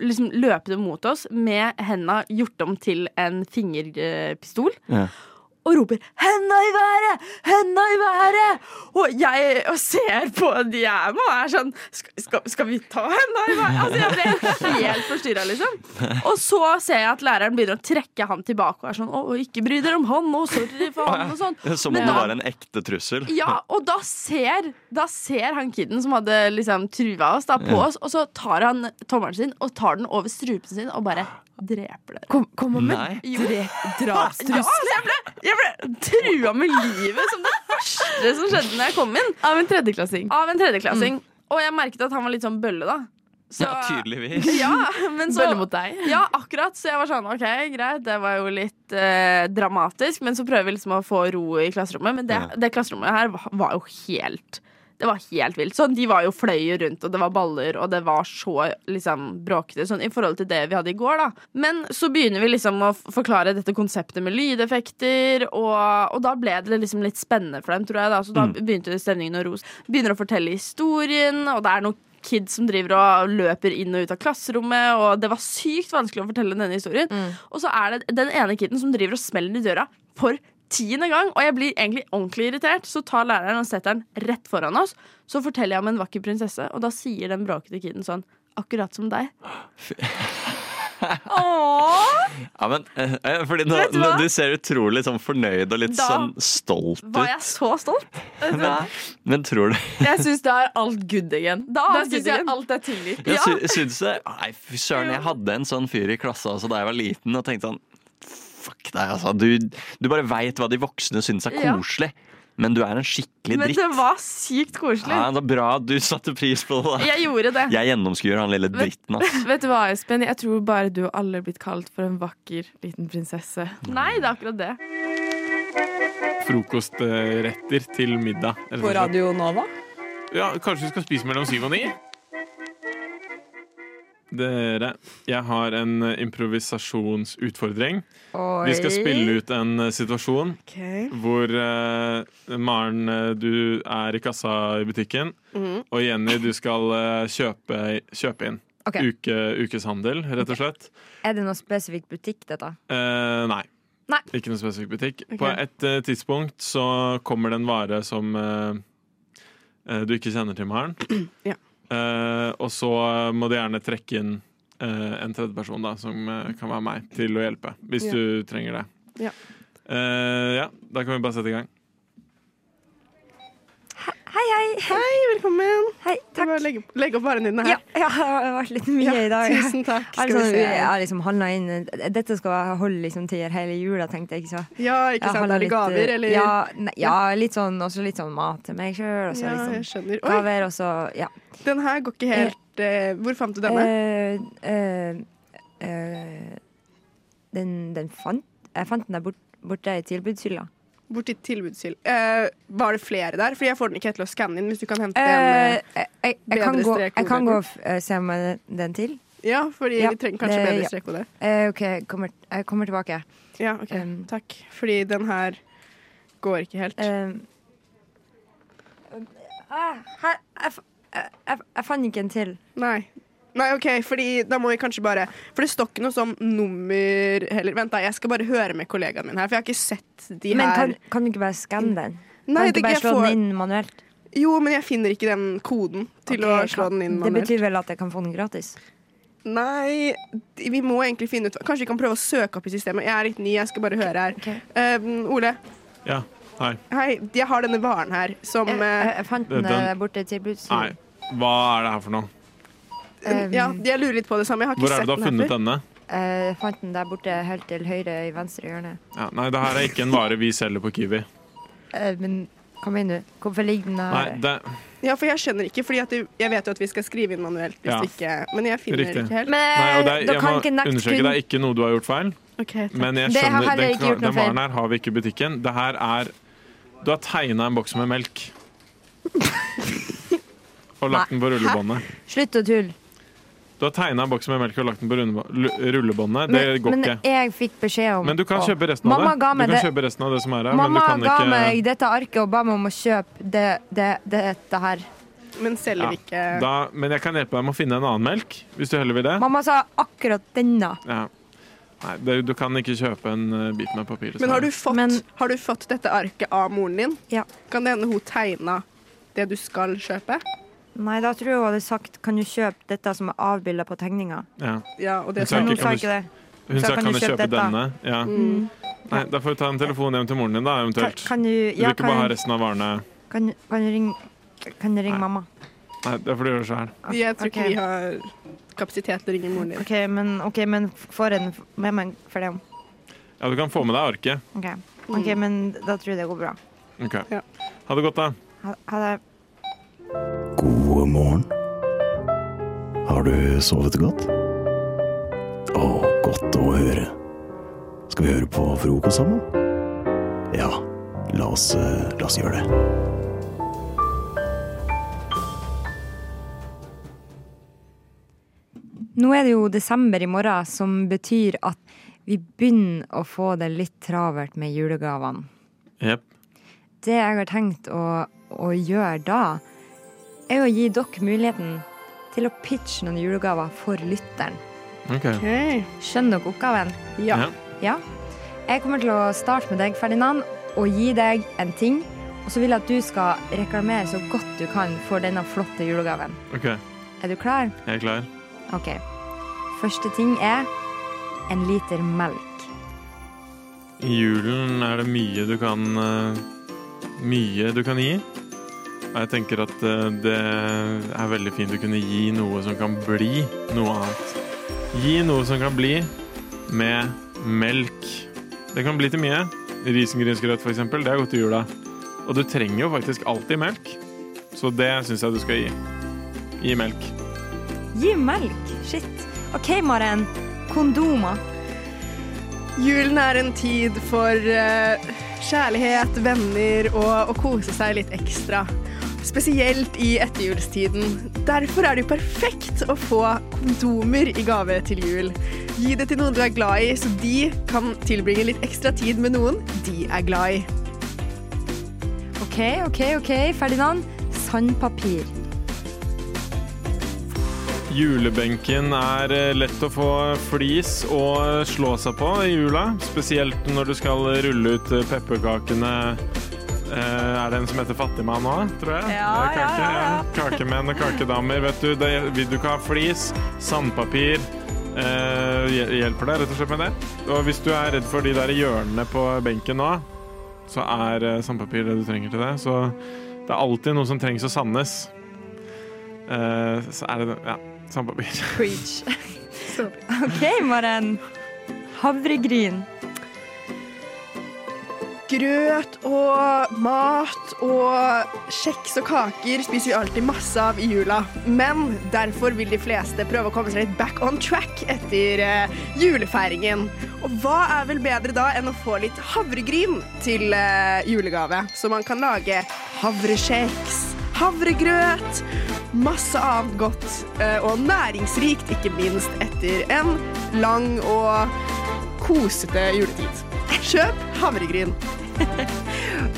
S4: liksom løpende mot oss med henda gjort om til en fingerpistol
S12: Ja.
S4: og roper 'henda i været! Henda i været!' Og jeg og ser på de jeg er med og er sånn skal, skal, 'Skal vi ta henda i været?' Altså, jeg ble helt forstyrra, liksom. Og så ser jeg at læreren begynner å trekke han tilbake og er sånn 'Å, ikke bry dere om han nå, sorry for han', og sånn.
S12: Som
S4: Men
S12: om det
S4: da-
S12: var en ekte trussel.
S4: Ja, og da ser, da ser han kiden som hadde liksom trua oss, da, på
S12: Ja.
S4: oss, og så tar han tommelen sin og tar den over strupen sin og bare dreper det.
S9: Kom, kom
S12: Nei.
S4: Ja, altså, jeg, ble, jeg ble trua med livet som det første som skjedde når jeg kom inn.
S7: Av en tredjeklassing.
S4: Av en tredjeklassing. Og jeg merket at han var litt sånn bølle, da. Så-
S12: Mm. Ja, tydeligvis.
S4: Ja, men så,
S7: Bølle mot deg.
S4: ja, akkurat. Så jeg var sånn OK, greit, det var jo litt eh, dramatisk, men så prøver vi liksom å få ro i klasserommet. Men det,
S12: Ja.
S4: det klasserommet her var, var jo helt Det var helt vilt. Sånn, de var jo fløy rundt, og det var baller, og det var så liksom bråkete. Sånn i forhold til det vi hadde i går, da. Men så begynner vi liksom å f- forklare dette konseptet med lydeffekter, og, og da ble det liksom litt spennende for dem, tror jeg, da. Så da begynte stemningen å rose. Begynner å fortelle historien, og det er noen kids som driver og løper inn og ut av klasserommet, og det var sykt vanskelig å fortelle denne historien. Og så er det den ene kiden som driver og smeller i døra for tiende gang, og jeg blir egentlig ordentlig irritert. Så tar læreren og setter den rett foran oss, så forteller jeg om en vakker prinsesse, og da sier den bråkete kiden sånn Akkurat som deg.
S12: Ja, men, eh, eh, fordi nå,
S4: Vet du
S12: nå,
S4: hva?
S12: du ser utrolig sånn fornøyd og litt
S4: Da
S12: sånn stolt ut.
S4: Var jeg så stolt?
S12: Men tror du
S9: Jeg syns da er alt good again.
S4: Da
S9: Da
S4: er
S9: syns
S4: good
S9: jeg
S4: again.
S9: alt er tilgitt.
S12: Jeg sy syns det Nei, fy søren, jeg hadde en sånn fyr i klassa også da jeg var liten og tenkte sånn Fuck deg, altså. Du, du bare veit hva de voksne syns er
S4: Ja.
S12: koselig, men du er en skikkelig
S4: Men
S12: dritt.
S4: det var sykt koselig.
S12: Ja, det er bra at du satte pris på det.
S4: Jeg gjorde det.
S12: Jeg gjennomskuer han lille dritten, ass.
S9: Vet du hva, Espen? Jeg tror bare du og alle er blitt kalt for en vakker liten prinsesse.
S4: Nei, det er akkurat det.
S13: Frokostretter til middag. rett og
S3: På
S13: slett.
S3: Radio Nova.
S13: Ja, kanskje vi skal spise mellom syv og ni? Dere, jeg har en eh, improvisasjonsutfordring. Vi skal spille ut en eh, situasjon hvor eh, Maren, eh, du er i kassa i butikken, og Jenny, du skal eh, kjøpe, kjøpe inn.
S11: Ok.
S13: Uke, ukeshandel, rett og slett.
S11: Er det noen spesifikk butikk, dette?
S13: Eh, nei.
S11: Nei.
S13: Ikke noen spesifikk butikk. På et eh, tidspunkt så kommer det en vare som eh, eh, du ikke kjenner til, Maren.
S3: Ja.
S13: Eh, og så må du gjerne trekke inn eh, en tredjeperson, da, som eh, kan være meg, til å hjelpe. Hvis
S3: Ja.
S13: du trenger det.
S3: Ja.
S13: Eh, ja, da kan vi bare sette i gang.
S11: Hei, hei.
S3: Hei, velkommen.
S11: Hei,
S3: Du
S11: takk.
S3: bare legge, legge opp varene dine
S11: Ja,
S3: her.
S11: ja, det har vært litt mye i dag.
S3: Tusen takk.
S11: Jeg
S3: Skal
S11: har
S3: vi
S11: liksom,
S3: se.
S11: jeg har liksom handlet inn Dette skal jeg holde liksom til hele jula, tenkte jeg. Ikke så.
S3: Ja,
S11: Jeg
S3: ikke sant.
S11: handlet
S3: Er det
S11: litt,
S4: eh,
S3: gaver, eller?
S11: Ja, nei, ja litt sånn, også litt sånn mat til meg sjøl, og så
S3: Ja,
S4: sånn.
S3: jeg
S11: liksom
S3: skjønner. Oi,
S11: gaver, og så Ja.
S3: den her går ikke helt eh, Hvor fant du denne?
S11: Eh, eh, eh, den, den fant Jeg fant den der bort, borte i tilbudshylla.
S3: Borti tilbudshyll. Eh, var det flere der? Fordi jeg får den ikke til å skanne inn, hvis du kan hente en
S11: Eh, jeg, jeg, jeg, kan
S3: bedre
S11: gå,
S3: strekkode.
S11: jeg kan gå og f- eh, se om jeg den til.
S3: eh, Ja, fordi
S11: ja,
S3: vi trenger kanskje
S11: det-
S3: bedre
S11: ja.
S3: strekkode.
S11: Eh, OK, jeg kommer, jeg kommer tilbake.
S3: Ja, OK.
S11: Um,
S3: Takk. Fordi den her går ikke helt.
S11: Eh, ah, her, jeg, fa- jeg, jeg, jeg fant ikke en til.
S3: Nei. Nei, ok, fordi da må vi kanskje bare For det står ikke noe sånn nummer heller. Vent, da, jeg skal bare høre med kollegaen min her, for jeg har ikke sett de
S14: Men
S3: her.
S14: kan, kan du ikke bare skanne den?
S3: Nei,
S14: kan du
S3: det-
S14: ikke bare
S3: jeg
S14: slå
S3: får-
S14: den inn manuelt?
S3: Jo, men jeg finner ikke den koden til
S14: Ok,
S3: å slå
S14: kan-
S3: den inn
S14: Det
S3: manuelt.
S14: betyr vel at jeg kan få den gratis?
S3: Nei, de- vi må egentlig finne ut Kanskje vi kan prøve å søke opp i systemet. Jeg er litt ny, jeg skal bare høre her. Eh, Ole,
S13: Ja, hei.
S3: hei, jeg har denne varen her som
S14: Jeg, jeg fant
S13: Den-
S14: den eh, borte til
S13: Nei,
S14: tilbudsrommet.
S13: hva er det her for noe?
S3: eh, Ja, jeg lurer litt på det samme. Jeg har ikke
S13: Hvor er det du
S3: sett
S13: har
S3: den
S13: funnet
S3: her før.
S13: denne?
S14: Ehm, Jeg fant den der borte helt til høyre i venstre hjørne.
S13: Ja, nei, det her er ikke en vare vi selger på Kiwi.
S14: Eh, Men hva mener du? Hvorfor ligger den
S13: Nei,
S14: her?
S13: det,
S3: Ja, for jeg skjønner ikke, fordi at du, jeg vet jo at vi skal skrive inn manuelt hvis
S13: Ja.
S3: ikke Men jeg finner
S13: Riktig.
S3: ikke helt.
S13: nei, og det er,
S14: da
S13: jeg
S14: kan
S13: må
S14: ikke nekte
S13: understreke, det er ikke noe du har gjort feil.
S3: Ok, takk.
S13: Men jeg
S14: Det har
S13: skjønner,
S14: heller
S13: den,
S14: ikke gjort noe
S13: kan- den
S14: feil.
S13: varen her har vi ikke i butikken. Det her er Du har tegna en boks med melk. Og lagt den på rullebåndet.
S14: Slutt å tulle.
S13: Du har tegna en boks med melk og lagt den på runde- lu- rullebåndet.
S14: Men,
S13: Det går
S14: men
S13: ikke.
S14: jeg fikk beskjed om
S13: Men du kan
S14: å-
S13: kjøpe resten av
S14: Mamma
S13: det.
S14: Ga meg
S13: Du kan
S14: det.
S13: kjøpe resten av det som er her, men du
S14: Mamma
S13: kan
S14: ga meg
S13: ikke
S14: dette arket og ba meg om å kjøpe det, det, det, dette her.
S3: Men selger vi ikke
S13: da, Men jeg kan hjelpe deg med å finne en annen melk, hvis du heller vil det.
S14: Mamma sa akkurat denne.
S13: Ja. Nei, det, du kan ikke kjøpe en eh, bit med papir.
S3: Men har du, fått, har du fått dette arket av moren din?
S14: Ja.
S3: Kan det hende hun tegna det du skal kjøpe?
S14: Nei, da tror jeg hun hadde sagt kan du kjøpe dette som er avbilda på tegninga.
S13: Ja.
S3: Ja, og det
S13: Hun sa
S14: Men hun
S13: ikke,
S14: sa
S13: kan du-
S14: ikke det.
S13: Hun sa kan du kjøpe
S14: dette?
S13: denne? Ja.
S14: Mm.
S13: Nei, da får vi ta en telefon hjem til moren din, da,
S14: Kan,
S13: eventuelt.
S14: kan du,
S13: Du
S14: ja,
S13: vil ikke bare ha
S14: kan,
S13: resten av varene
S14: kan, kan du ringe Kan du ringe mamma?
S13: Nei, det får du gjøre sjøl.
S3: Jeg tror ikke
S14: Ok.
S3: vi har kapasitet til å ringe moren din.
S14: OK, men, ok, men får jeg den f- med meg for det?
S13: Ja, du kan få med deg arket.
S14: OK, Ok, men da tror jeg det går bra.
S13: Ok. Ha det godt, da.
S14: Ha, ha det.
S15: God morgen. Har du sovet godt? Å, godt å høre. Skal vi høre på frokost sammen? Ja, la oss, eh, la oss gjøre det.
S14: Nå er det jo desember i morgen, som betyr at vi begynner å få det litt travelt med julegavene.
S13: Jep.
S14: Det jeg har tenkt å, å gjøre da, er å gi dere muligheten til å pitche noen julegaver for lytteren.
S13: Ok.
S14: Skjønner dere oppgaven?
S13: Ja. Ja.
S14: Ja. Jeg kommer til å starte med deg, Ferdinand, og gi deg en ting. Og så vil jeg at du skal reklamere så godt du kan for denne flotte julegaven.
S13: OK,
S14: Er du klar?
S13: jeg er klar.
S14: Ok. Første ting er en liter melk.
S13: I julen er det mye du kan eh, Mye du kan gi. Og jeg tenker at eh, det er veldig fint å kunne gi noe som kan bli noe annet. Gi noe som kan bli med melk. Det kan bli til mye. Risengrynsgrøt, for eksempel, det er godt til jula. Og du trenger jo faktisk alltid melk, så det syns jeg du skal gi. Gi melk.
S14: Gi melk! Shit. OK, Maren. Kondomer.
S3: Julen er en tid for eh, kjærlighet, venner og å kose seg litt ekstra. Spesielt i etterjulstiden. Derfor er det jo perfekt å få kondomer i gave til jul. Gi det til noen du er glad i, så de kan tilbringe litt ekstra tid med noen de er glad i.
S14: OK, OK, OK, Ferdinand. Sandpapir.
S13: Julebenken er eh, lett å få flis og slå seg på i jula. Spesielt når du skal rulle ut eh, pepperkakene. Eh, Er det en som heter Fattigmann nå, tror jeg? Ja, det er kake, ja, Kakemenn og kakedamer. Vet du, det, vil du ikke ha flis, sandpapir eh, hjel- Hjelper deg rett og slett med det. Og hvis du er redd for de der hjørnene på benken nå, så er eh, sandpapir det du trenger til det. Så det er alltid noe som trengs å sandes. Eh, så er det Ja, sandpapir.
S14: Preach. OK, Maren. Havregryn.
S3: Grøt og mat og kjeks og kaker spiser vi alltid masse av i jula. Men derfor vil de fleste prøve å komme seg litt back on track etter eh, julefeiringen. Og hva er vel bedre da enn å få litt havregryn til eh, julegave? Så man kan lage havrekjeks, havregrøt, masse annet godt eh, og næringsrikt, ikke minst etter en lang og kosete juletid. Kjøp havregryn.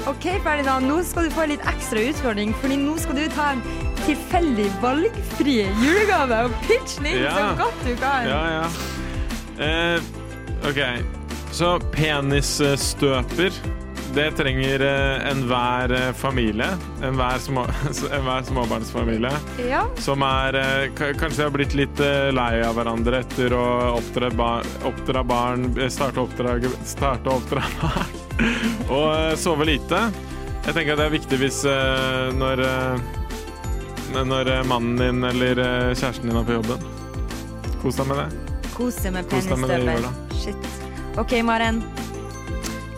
S14: OK, Ferdinand, nå skal du få en litt ekstra utfordring, Fordi nå skal du ta en tilfeldig valgfrie julegaver og pitch den inn
S13: Ja.
S14: så godt du kan.
S13: Ja, ja. Eh, OK. Så penisstøper, det trenger eh, enhver eh, familie. Enhver, små, enhver småbarnsfamilie.
S14: Ja.
S13: Som er eh, ka- Kanskje de har blitt litt eh, lei av hverandre etter å oppdra, bar, oppdra barn, eh, starte og oppdrage- starte og oppdra barn og eh, sove lite. Jeg tenker at det er viktig hvis eh, når eh, når eh, mannen din eller eh, kjæresten din er på jobben. Kos deg med det.
S14: Kose med
S13: Kos deg med det i
S14: penisstøvel. Shit. OK, Maren.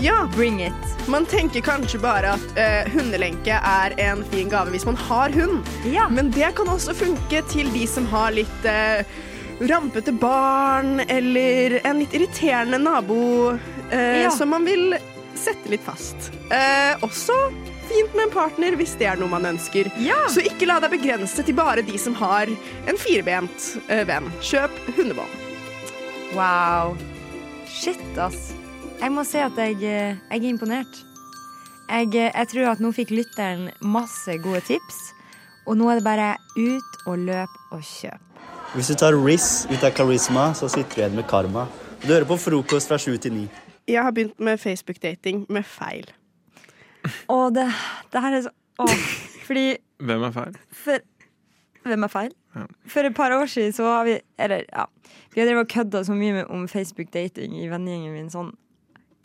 S3: Ja.
S14: Bring it.
S3: Man tenker kanskje bare at eh, hundelenke er en fin gave hvis man har hund, men det kan også funke til de som har litt eh, rampete barn eller en litt irriterende nabo eh,
S14: Ja.
S3: som man vil sette litt fast. Eh, også fint med en partner hvis det er noe man ønsker. Så ikke la deg begrense til bare de som har en firbent eh, venn. Kjøp hundebånd.
S14: Wow. Shit, ass. Jeg må si at jeg, eh, jeg er imponert. Jeg, eh, jeg tror at nå fikk lytteren masse gode tips, og nå er det bare ut og løp og kjøp.
S16: Hvis du tar Riz ut av karisma, så sitter du igjen med karma. Du hører på frokost fra sju til ni.
S3: Jeg har begynt med Facebook-dating med feil.
S14: Og det, det her er så Åh. Fordi
S13: Hvem er feil?
S14: for Hvem er feil?
S13: Ja.
S14: For et par år siden så har vi Eller, ja. Vi har drevet og kødda så mye med, om Facebook-dating i vennegjengen min. Sånn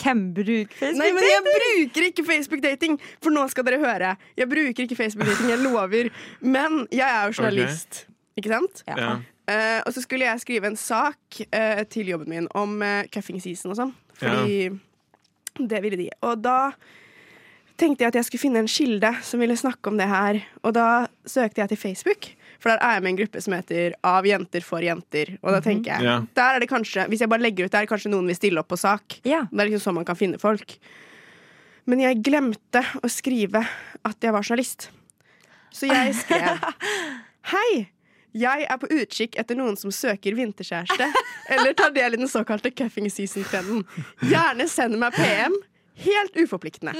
S14: Hvem bruker Facebook-dating?
S3: Nei, men jeg bruker ikke Facebook-dating, for nå skal dere høre. Jeg bruker ikke Facebook-dating, jeg lover. Men jeg er jo journalist, ikke sant?
S13: Ja.
S3: Eh, og så skulle jeg skrive en sak eh, til jobben min om uh, cuffing season og sånn. Fordi det ville de. Og da tenkte jeg at jeg skulle finne en kilde som ville snakke om det her. Og da søkte jeg til Facebook, for der er jeg med i en gruppe som heter Av jenter for jenter. Og da tenker jeg,
S17: Ja.
S3: der er det kanskje, hvis jeg bare legger ut der, kanskje noen vil stille opp på sak. Det er liksom sånn man kan finne folk. Men jeg glemte å skrive at jeg var journalist. Så jeg skrev Hei! Jeg er på utkikk etter noen som søker vinterkjæreste, eller tar del i den såkalte cuffing season-trenden. Gjerne send meg PM. Helt uforpliktende.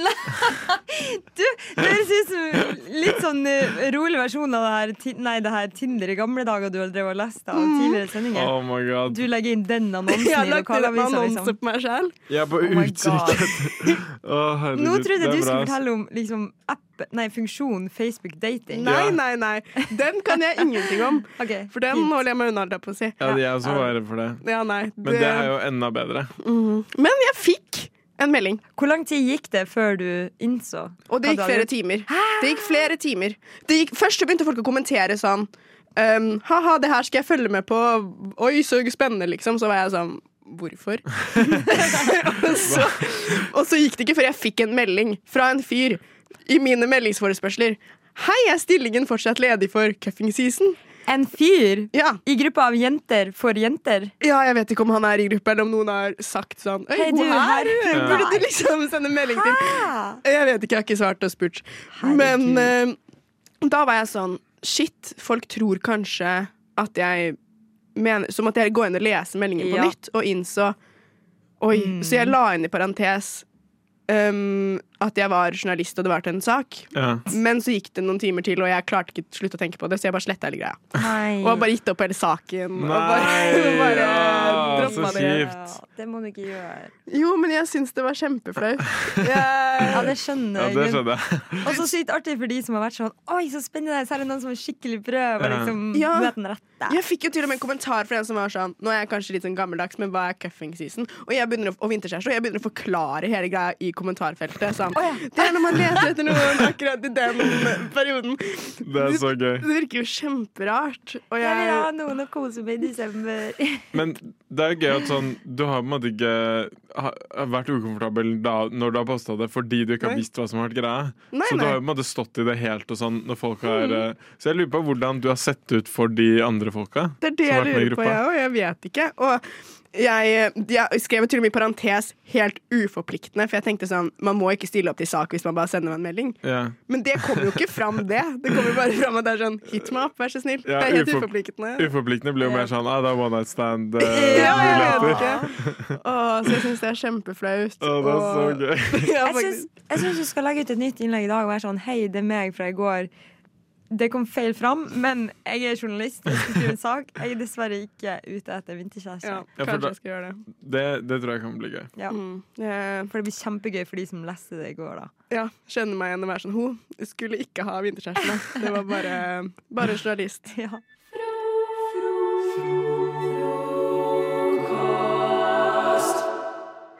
S14: Det høres ut som litt sånn eh, rolig versjon av det her, ti- nei, det her Tinder i gamle dager du har drevet og lest av tidligere sendinger.
S13: Oh my god.
S14: Du legger inn den annonsen
S3: Jeg har
S14: i
S3: lagt inn en
S14: lokalavisa,
S3: annonse
S14: liksom.
S3: på meg sjøl.
S13: Jeg
S4: Oh
S13: er på
S14: my
S13: utkikk
S14: God.
S13: etter Å, herregud,
S14: Nå trodde jeg du
S13: det er bra,
S14: skulle
S13: ass.
S14: fortelle om liksom, app, nei, funksjonen Facebook dating.
S3: Nei, nei, nei. Den kan jeg ingenting om. For den holder jeg meg unna, holdt jeg på å si.
S13: Ja, de er også bare redd for det.
S3: Ja, nei.
S13: Men det er jo enda bedre.
S3: Mhm. Men jeg fikk en melding.
S14: Hvor lang tid gikk det før du innså?
S3: Og det
S14: hva
S3: gikk
S14: du hadde
S3: flere
S14: gjort?
S3: timer. Det gikk flere timer. Det gikk, først så begynte folk å kommentere sånn ehm, Ha-ha, det her skal jeg følge med på. Oi, så spennende, liksom. Så var jeg sånn Hvorfor? og, så, og så gikk det ikke før jeg fikk en melding fra en fyr i mine meldingsforespørsler. Hei, er stillingen fortsatt ledig for cuffing season?
S14: En fyr
S3: ja.
S14: i gruppa av jenter for jenter?
S3: Ja, jeg vet ikke om han er i gruppa, eller om noen har sagt sånn Øy,
S14: Hei,
S3: hun
S14: du, her
S3: her,
S14: er hun.
S3: burde du liksom sende melding til? Jeg vet ikke, jeg har ikke svart og spurt. Men eh, da var jeg sånn Shit, folk tror kanskje at jeg mener Så måtte jeg gå inn og lese meldingen på
S14: Ja.
S3: nytt, og innså Oi. Så jeg la inn i parentes ehm, at jeg var journalist, og det var til en sak.
S13: Ja.
S3: Men så gikk det noen timer til, og jeg klarte ikke til slutt å tenke på det, så jeg bare sletta hele greia.
S14: Nei.
S3: Og har bare gitt opp hele saken.
S13: Nei,
S3: og bare, bare
S13: ja, så
S3: droppa det.
S13: kjipt.
S14: Det må du ikke gjøre.
S3: Jo, men jeg syns det var kjempeflaut.
S14: Ja, det skjønner
S13: Ja,
S14: jeg.
S13: det
S14: men-
S13: skjønner jeg.
S14: Og så sykt artig for de som har vært sånn Oi, så spennende, særlig noen som har skikkelig prøv og
S13: Ja.
S14: liksom
S3: Ja.
S14: du vet den rette.
S3: Jeg fikk jo til og med en kommentar fra en som var sånn Nå er jeg kanskje litt sånn gammeldags, men hva er cuffing season? Og jeg begynner å, og vinterkjæreste, og jeg begynner å forklare hele greia i kommentarfeltet. Sånn. Det er når man leter etter noen akkurat i den perioden.
S13: Det er så gøy.
S3: Det virker jo kjemperart. Og
S14: Jeg vil
S3: jeg
S14: ha noen å kose med i desember.
S13: Men det er jo gøy at sånn Du har på en måte ikke ha- vært ukomfortabel da, når du har posta det, fordi du ikke har
S3: Nei.
S13: visst hva som har vært greia.
S3: Nei,
S13: så du
S3: nei. Mm.
S13: har jo på en måte stått i det helt og sånn når folk har eh, Så jeg lurer på hvordan du har sett ut for de andre folka.
S3: Det er det
S13: som har
S3: jeg
S13: vært med i
S3: lurer på,
S13: gruppa.
S3: jeg òg. Jeg vet ikke. Og jeg, jeg skrev til og med i parentes 'helt uforpliktende', for jeg tenkte sånn Man må ikke stille opp til sak hvis man bare sender meg en melding.
S13: Ja.
S3: Men det kommer jo ikke fram, det. Det kommer bare fram at det er sånn 'hit meg opp, vær så snill'.
S13: Ja,
S3: det er helt
S13: ufor-
S3: uforpliktende.
S13: Uforpliktende blir jo mer sånn ah, det er one night
S3: Ja, jeg
S13: stand-muligheter.
S3: vet ikke. Å, så jeg syns det er kjempeflaut.
S13: Å, det er så
S3: Og-
S13: gøy.
S3: Ja,
S14: Jeg syns- jeg syns du skal legge ut et nytt innlegg i dag og være sånn Hei, det er meg fra i går.
S17: det kom feil fram, men jeg er journalist. Jeg skal skrive en sak. Jeg er dessverre ikke ute etter vinterkjæreste.
S13: Ja, for da- Det, det tror jeg kan bli gøy.
S17: Ja.
S3: Mm.
S17: For det blir kjempegøy for de som leste det i går, da.
S3: Eh, Ja, skjønner meg igjen å være sånn Hun skulle ikke ha vinterkjæreste. Det var bare, bare journalist.
S17: Ja.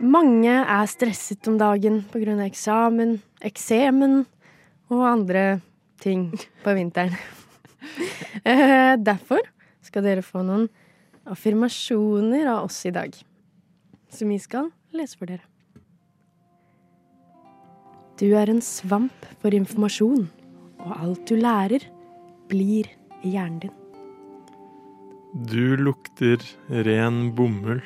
S5: Mange er stresset om dagen pga. eksamen, eksemen og andre ting på vinteren. Eh, Derfor skal dere få noen affirmasjoner av oss i dag, som vi skal lese for dere. Du er en svamp for informasjon, og alt du lærer, blir i hjernen din.
S13: Du lukter ren bomull.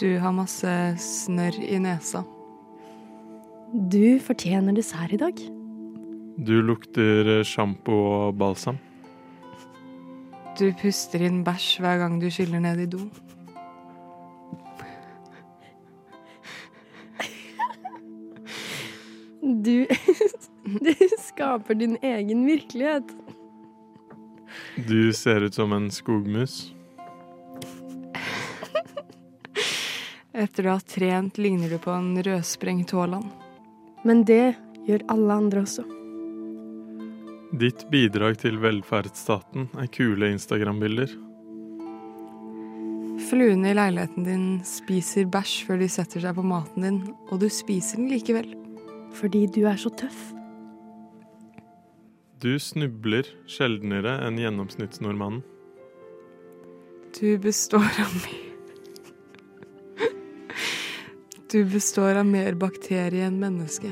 S18: Du har masse snørr i nesa.
S5: Du fortjener dessert i dag.
S13: Du lukter sjampo og balsam.
S18: Du puster inn bæsj hver gang du skyller ned i do.
S5: Du, du skaper din egen virkelighet.
S13: Du ser ut som en skogmus.
S18: Etter du har trent, ligner du på en rødsprengt Haaland.
S5: Men det gjør alle andre også.
S13: Ditt bidrag til velferdsstaten er kule Instagram-bilder.
S18: Fluene i leiligheten din spiser bæsj før de setter seg på maten din, og du spiser den likevel.
S5: Fordi du er så tøff.
S13: Du snubler sjeldnere enn gjennomsnittsnordmannen.
S18: Du består av mer Du består av mer bakterie enn menneske.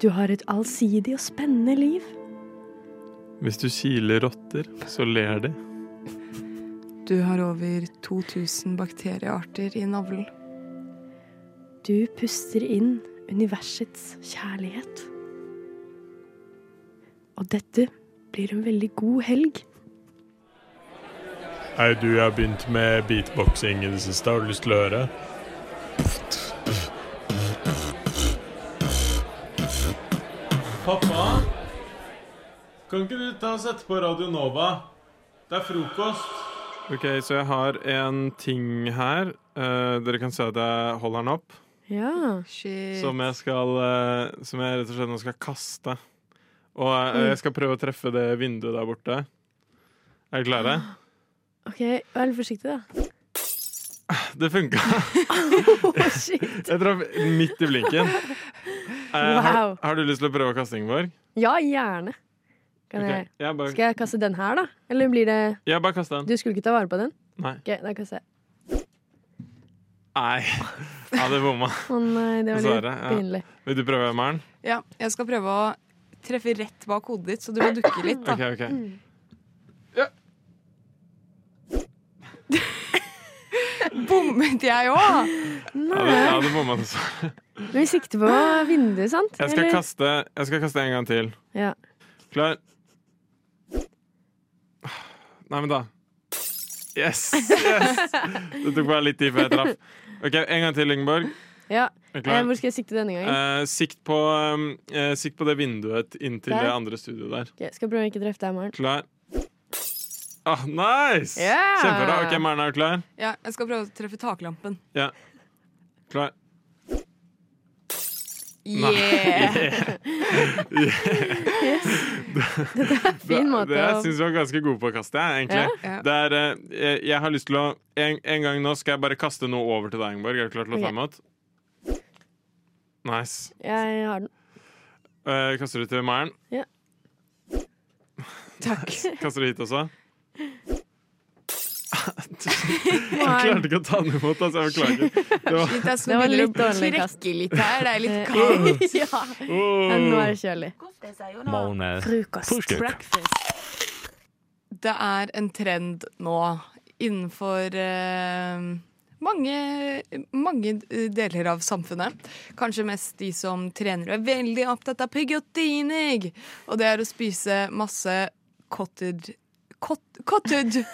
S5: Du har et allsidig og spennende liv.
S13: Hvis du kiler rotter, så ler de.
S18: Du har over 2000 bakteriearter i navlen.
S5: Du puster inn universets kjærlighet. Og dette blir en veldig god helg.
S19: Hei, du, jeg har begynt med beatboxing i det siste. Har du lyst til å høre?
S13: Pappa? Kan ikke du ta og sette på Radio Nova? Det er frokost. Ok, så jeg har en ting her. Eh, dere kan se at jeg holder den opp.
S5: Ja.
S13: Som jeg skal eh, Som jeg rett og slett nå skal kaste. Og eh,
S5: Mm.
S13: jeg skal prøve å treffe det vinduet der borte. Er dere klare?
S5: OK, vær litt forsiktig, da.
S13: Det funka! jeg traff midt i blinken. Eh, har,
S5: Wow.
S13: har du lyst til å prøve kastingen vår?
S5: Ja, gjerne. Kan
S13: Ok,
S5: jeg?
S13: jeg bare-
S5: Skal jeg kaste den her, da? Eller blir det
S13: Ja, bare kast den.
S5: Du skulle ikke ta vare på den?
S13: Nei.
S5: Ok, da kaster jeg.
S13: Nei. Ja, det bomma.
S5: Å nei, det var litt
S13: Dessverre, ja.
S5: pinlig.
S13: Vil du prøve, Maren?
S18: Ja, jeg skal prøve å treffe rett bak hodet ditt, så du må dukke litt, da.
S13: Ok, ok.
S18: Bommet jeg òg?
S13: Ja, det, ja, det bomma dessverre.
S5: Men vi sikter på vinduet, sant?
S13: Jeg skal
S5: Eller-
S13: kaste, jeg skal kaste en gang til.
S5: Ja.
S13: Klar? Nei, men da. Yes! yes. Det tok bare litt tid før jeg traff. Ok, En gang til, Ingeborg.
S5: ja.
S13: Er du klar?
S5: Eh, Hvor skal jeg sikte denne gangen?
S13: Eh, sikt, på, um, eh, sikt på det vinduet inntil
S5: Der?
S13: det andre studioet der.
S5: Ok, skal jeg prøve å ikke treffe deg, Maren.
S13: Klar? Ah, nice!
S18: Yeah!
S13: Kjempebra. Ok, Maren, er du klar?
S18: Ja, jeg skal prøve å treffe taklampen.
S13: Ja. Klar? Nei.
S18: Yeah!
S13: Yeah.
S5: Dette er en fin måte
S13: Det jeg
S5: å
S13: syns jeg var ganske god på å kaste, jeg, egentlig.
S5: Ja.
S13: Det er, eh, jeg, jeg har lyst til å en, en gang nå skal jeg bare kaste noe over til deg, Ingeborg. Er du klar til å ta
S5: Ok.
S13: imot? Nice.
S5: Jeg har den.
S13: Eh, kaster du til Maren?
S5: Ja.
S13: Takk. Kaster du hit også? Jeg
S18: Maren.
S13: klarte ikke å ta den imot, altså. Jeg beklager. Det var-
S18: Shit, jeg
S5: Det var
S18: begynner
S5: litt
S18: å
S5: dårlig kast.
S18: trekke litt her. Det er litt
S5: Eh,
S18: kaldt.
S5: ja. ja, nå er det kjølig.
S18: Det er en trend nå innenfor eh, mange, mange deler av samfunnet. Kanskje mest de som trener og er veldig opptatt av proteinig. Og det er å spise masse cottage cot- Cottage!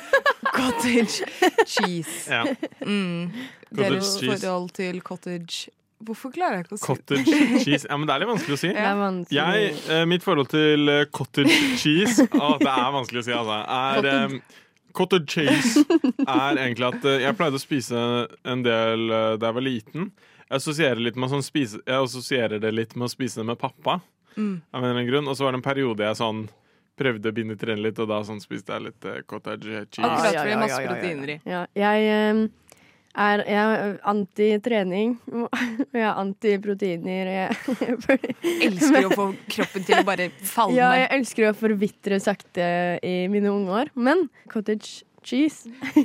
S18: Cottage cheese.
S13: Ja.
S18: Mm.
S13: Cottage
S18: Deres
S13: cheese.
S18: forhold til cottage Hvorfor klarer jeg ikke å si
S13: Cottage cheese Ja, men det er litt vanskelig å si.
S18: Det er vanskelig.
S13: Jeg, eh, mitt forhold til eh, cottage cheese Å, det er vanskelig å si, altså. Er, eh, cottage cheese er egentlig at eh, jeg pleide å spise en del eh, da jeg var liten. Jeg assosierer, litt med sånn spise, jeg assosierer det litt med å spise det med pappa.
S19: Mm.
S13: Av en eller annen grunn. Og så var det en periode jeg sånn prøvde å binde trene litt, og da sånn spiste jeg litt eh, cottage cheese.
S18: Akkurat, for det er masse proteiner i.
S5: Ja, jeg eh, er, jeg er anti-trening, og jeg er anti-proteiner. og Jeg
S18: Elsker å få kroppen til å bare falle
S5: Ja, jeg
S18: ned.
S5: elsker å forvitre sakte i mine unge år, men cottage cheese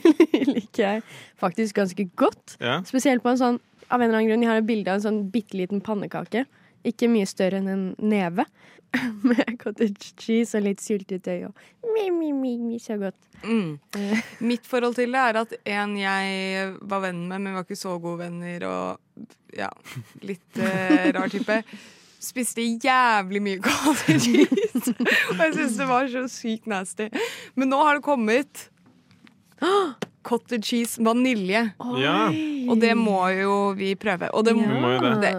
S5: liker jeg faktisk ganske godt.
S19: Ja.
S5: Spesielt på en sånn Av en eller annen grunn, jeg har et bilde av en sånn bitte liten pannekake. Ikke mye større enn en neve. Med cottage cheese og litt syltetøy og mi, mi, mi, mi, så godt.
S18: Mm. Mitt forhold til det er at en jeg var venn med, men vi var ikke så gode venner, og ja, litt eh, rar type, spiste jævlig mye cottage cheese. og jeg syntes det var så sykt nasty. Men nå har det kommet cottage cheese vanilje.
S19: Ja.
S18: Og det må jo vi prøve. Og det,
S19: Vi må jo det.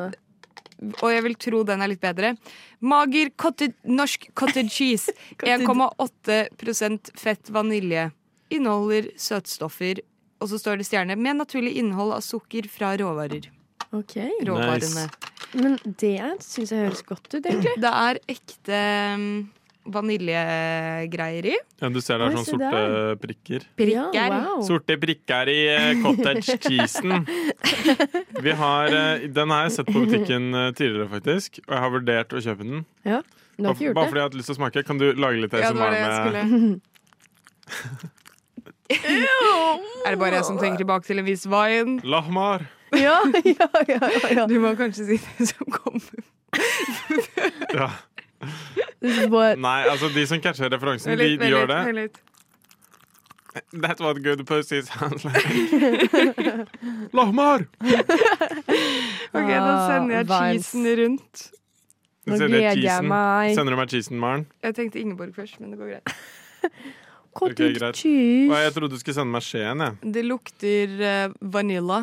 S18: og jeg vil tro den er litt bedre. Mager cottage, norsk cottage cheese. 1,8 fett vanilje. Inneholder søtstoffer, og så står det stjerne, med naturlig innhold av sukker fra råvarer.
S5: Ok.
S18: Råvarene.
S5: Men det syns jeg høres godt ut, egentlig.
S18: Det er ekte mm, vaniljegreier i.
S13: Ja, du ser det er
S18: Oi,
S13: sånne
S18: se
S13: sorte
S18: der.
S13: prikker.
S18: Prikker. Ja, wow.
S13: Sorte prikker i eh, cottage cheesen. Vi har, eh, den har jeg sett på butikken eh, tidligere, faktisk. Og jeg har vurdert å kjøpe den.
S5: Ja, du har
S13: Bare
S5: ikke gjort
S13: bare fordi
S5: det?
S13: jeg har hatt lyst til å smake. Kan du lage litt ASMR med
S18: Er det bare jeg som tenker tilbake til en viss wine?
S13: Lahmar.
S5: Ja, ja, ja,
S18: Du må kanskje si det som kommer.
S13: Ja. Nei, altså, de som catcher referansen, de, de gjør det. That what good pussy sounds like. Lahmar!
S18: Ok, da sender jeg
S5: Ah, vibes.
S18: cheesen rundt.
S13: Nå
S5: gleder jeg meg.
S13: Sender du meg cheesen, Maren?
S18: Jeg tenkte Ingeborg først, men det går greit.
S13: Ok, greit. Å, Jeg trodde du skulle sende meg skjeen, jeg.
S18: Det lukter eh, vanilla.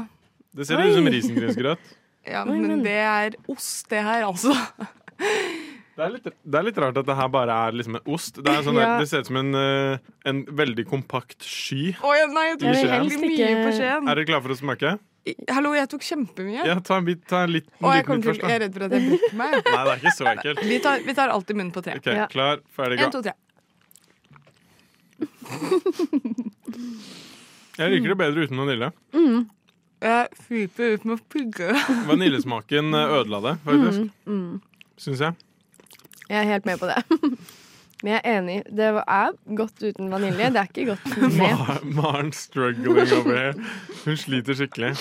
S13: Det ser ut som risengrynsgrøt.
S18: Ja,
S13: Oi,
S18: men
S13: men-
S18: det er ost, det her, altså.
S13: Det er, litt, det er litt rart at det her bare er liksom en ost. Det, er sånn,
S18: Ja.
S13: det ser ut som en, eh, en veldig kompakt sky.
S18: Å ja, nei, jeg
S13: i
S18: tok
S13: skjeen.
S18: veldig mye på skjeen.
S13: Er dere klare for å smake?
S18: Hallo, jeg tok kjempemye.
S13: Ja, ta en bit, ta en liten
S18: Å, jeg,
S13: liten
S18: kommer
S13: bit
S18: til,
S13: først.
S18: jeg
S13: Da.
S18: er redd for at jeg brekker meg.
S13: Nei, det er ikke så ekkelt.
S18: Vi tar, vi tar alltid munnen på tre.
S13: Ok, Klar, ferdig,
S18: En, to,
S13: gå.
S18: tre.
S13: Jeg liker det bedre uten vanilje.
S18: Jeg flyter ut med å pugge.
S13: Vaniljesmaken eh, ødela det, faktisk.
S5: Mm, mm.
S13: Syns jeg.
S5: Jeg er helt med på det. Men jeg er enig. Det er godt uten vanilje. Det er ikke godt med.
S13: Mar- Maren struggling over here. Hun sliter skikkelig.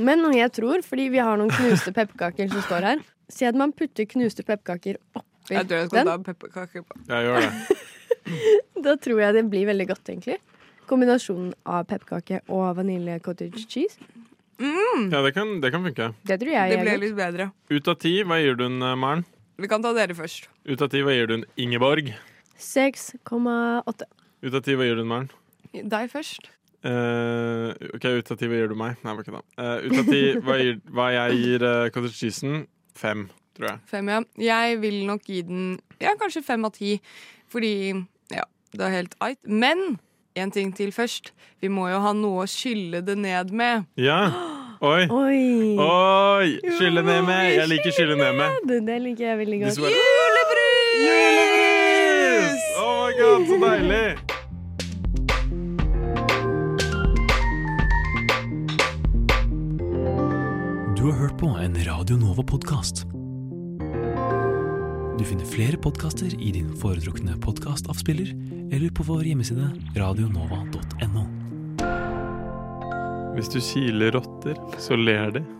S5: Men noe jeg tror, fordi vi har noen knuste pepperkaker som står her Si at man putter knuste pepperkaker oppi
S18: Jeg tror jeg skal
S5: den.
S18: ta pepperkaker på.
S13: Jeg gjør det.
S5: Da tror jeg det blir veldig godt, egentlig. Kombinasjonen av pepperkake og vanilje cottage cheese.
S13: Ja, det kan, det kan funke.
S5: Det tror jeg
S18: Det
S5: er
S18: ble
S5: godt.
S18: litt bedre.
S13: Ut av ti, hva gir du den, eh, Maren?
S18: Vi kan ta dere først.
S13: Ut av ti, hva gir du den, Ingeborg?
S5: 6,8.
S13: Ut av ti, hva gir du den, Maren?
S18: Deg først.
S13: Eh, ok, ut av ti, hva gir du meg? Nei, det var ikke det. Eh, ut av ti, hva, gir- hva jeg gir uh, cottage cheesen? Fem, tror jeg.
S18: Fem, ja. Jeg vil nok gi den ja, kanskje fem av ti. Fordi ja, det er helt eit. Men en ting til først. Vi må jo ha noe å skylle det ned med.
S13: Ja. Oi.
S5: Oi.
S13: Oi. Skylle ned med. Jeg liker skylle ned med.
S5: Det, det liker jeg veldig
S13: This
S5: godt.
S13: one- Julebrus! Oh my god, så deilig!
S20: Du har hørt på en Radio Nova-podkast. Du finner flere podkaster i din foretrukne podkastavspiller eller på vår hjemmeside radionova.no.
S13: Hvis du kiler rotter, så ler de.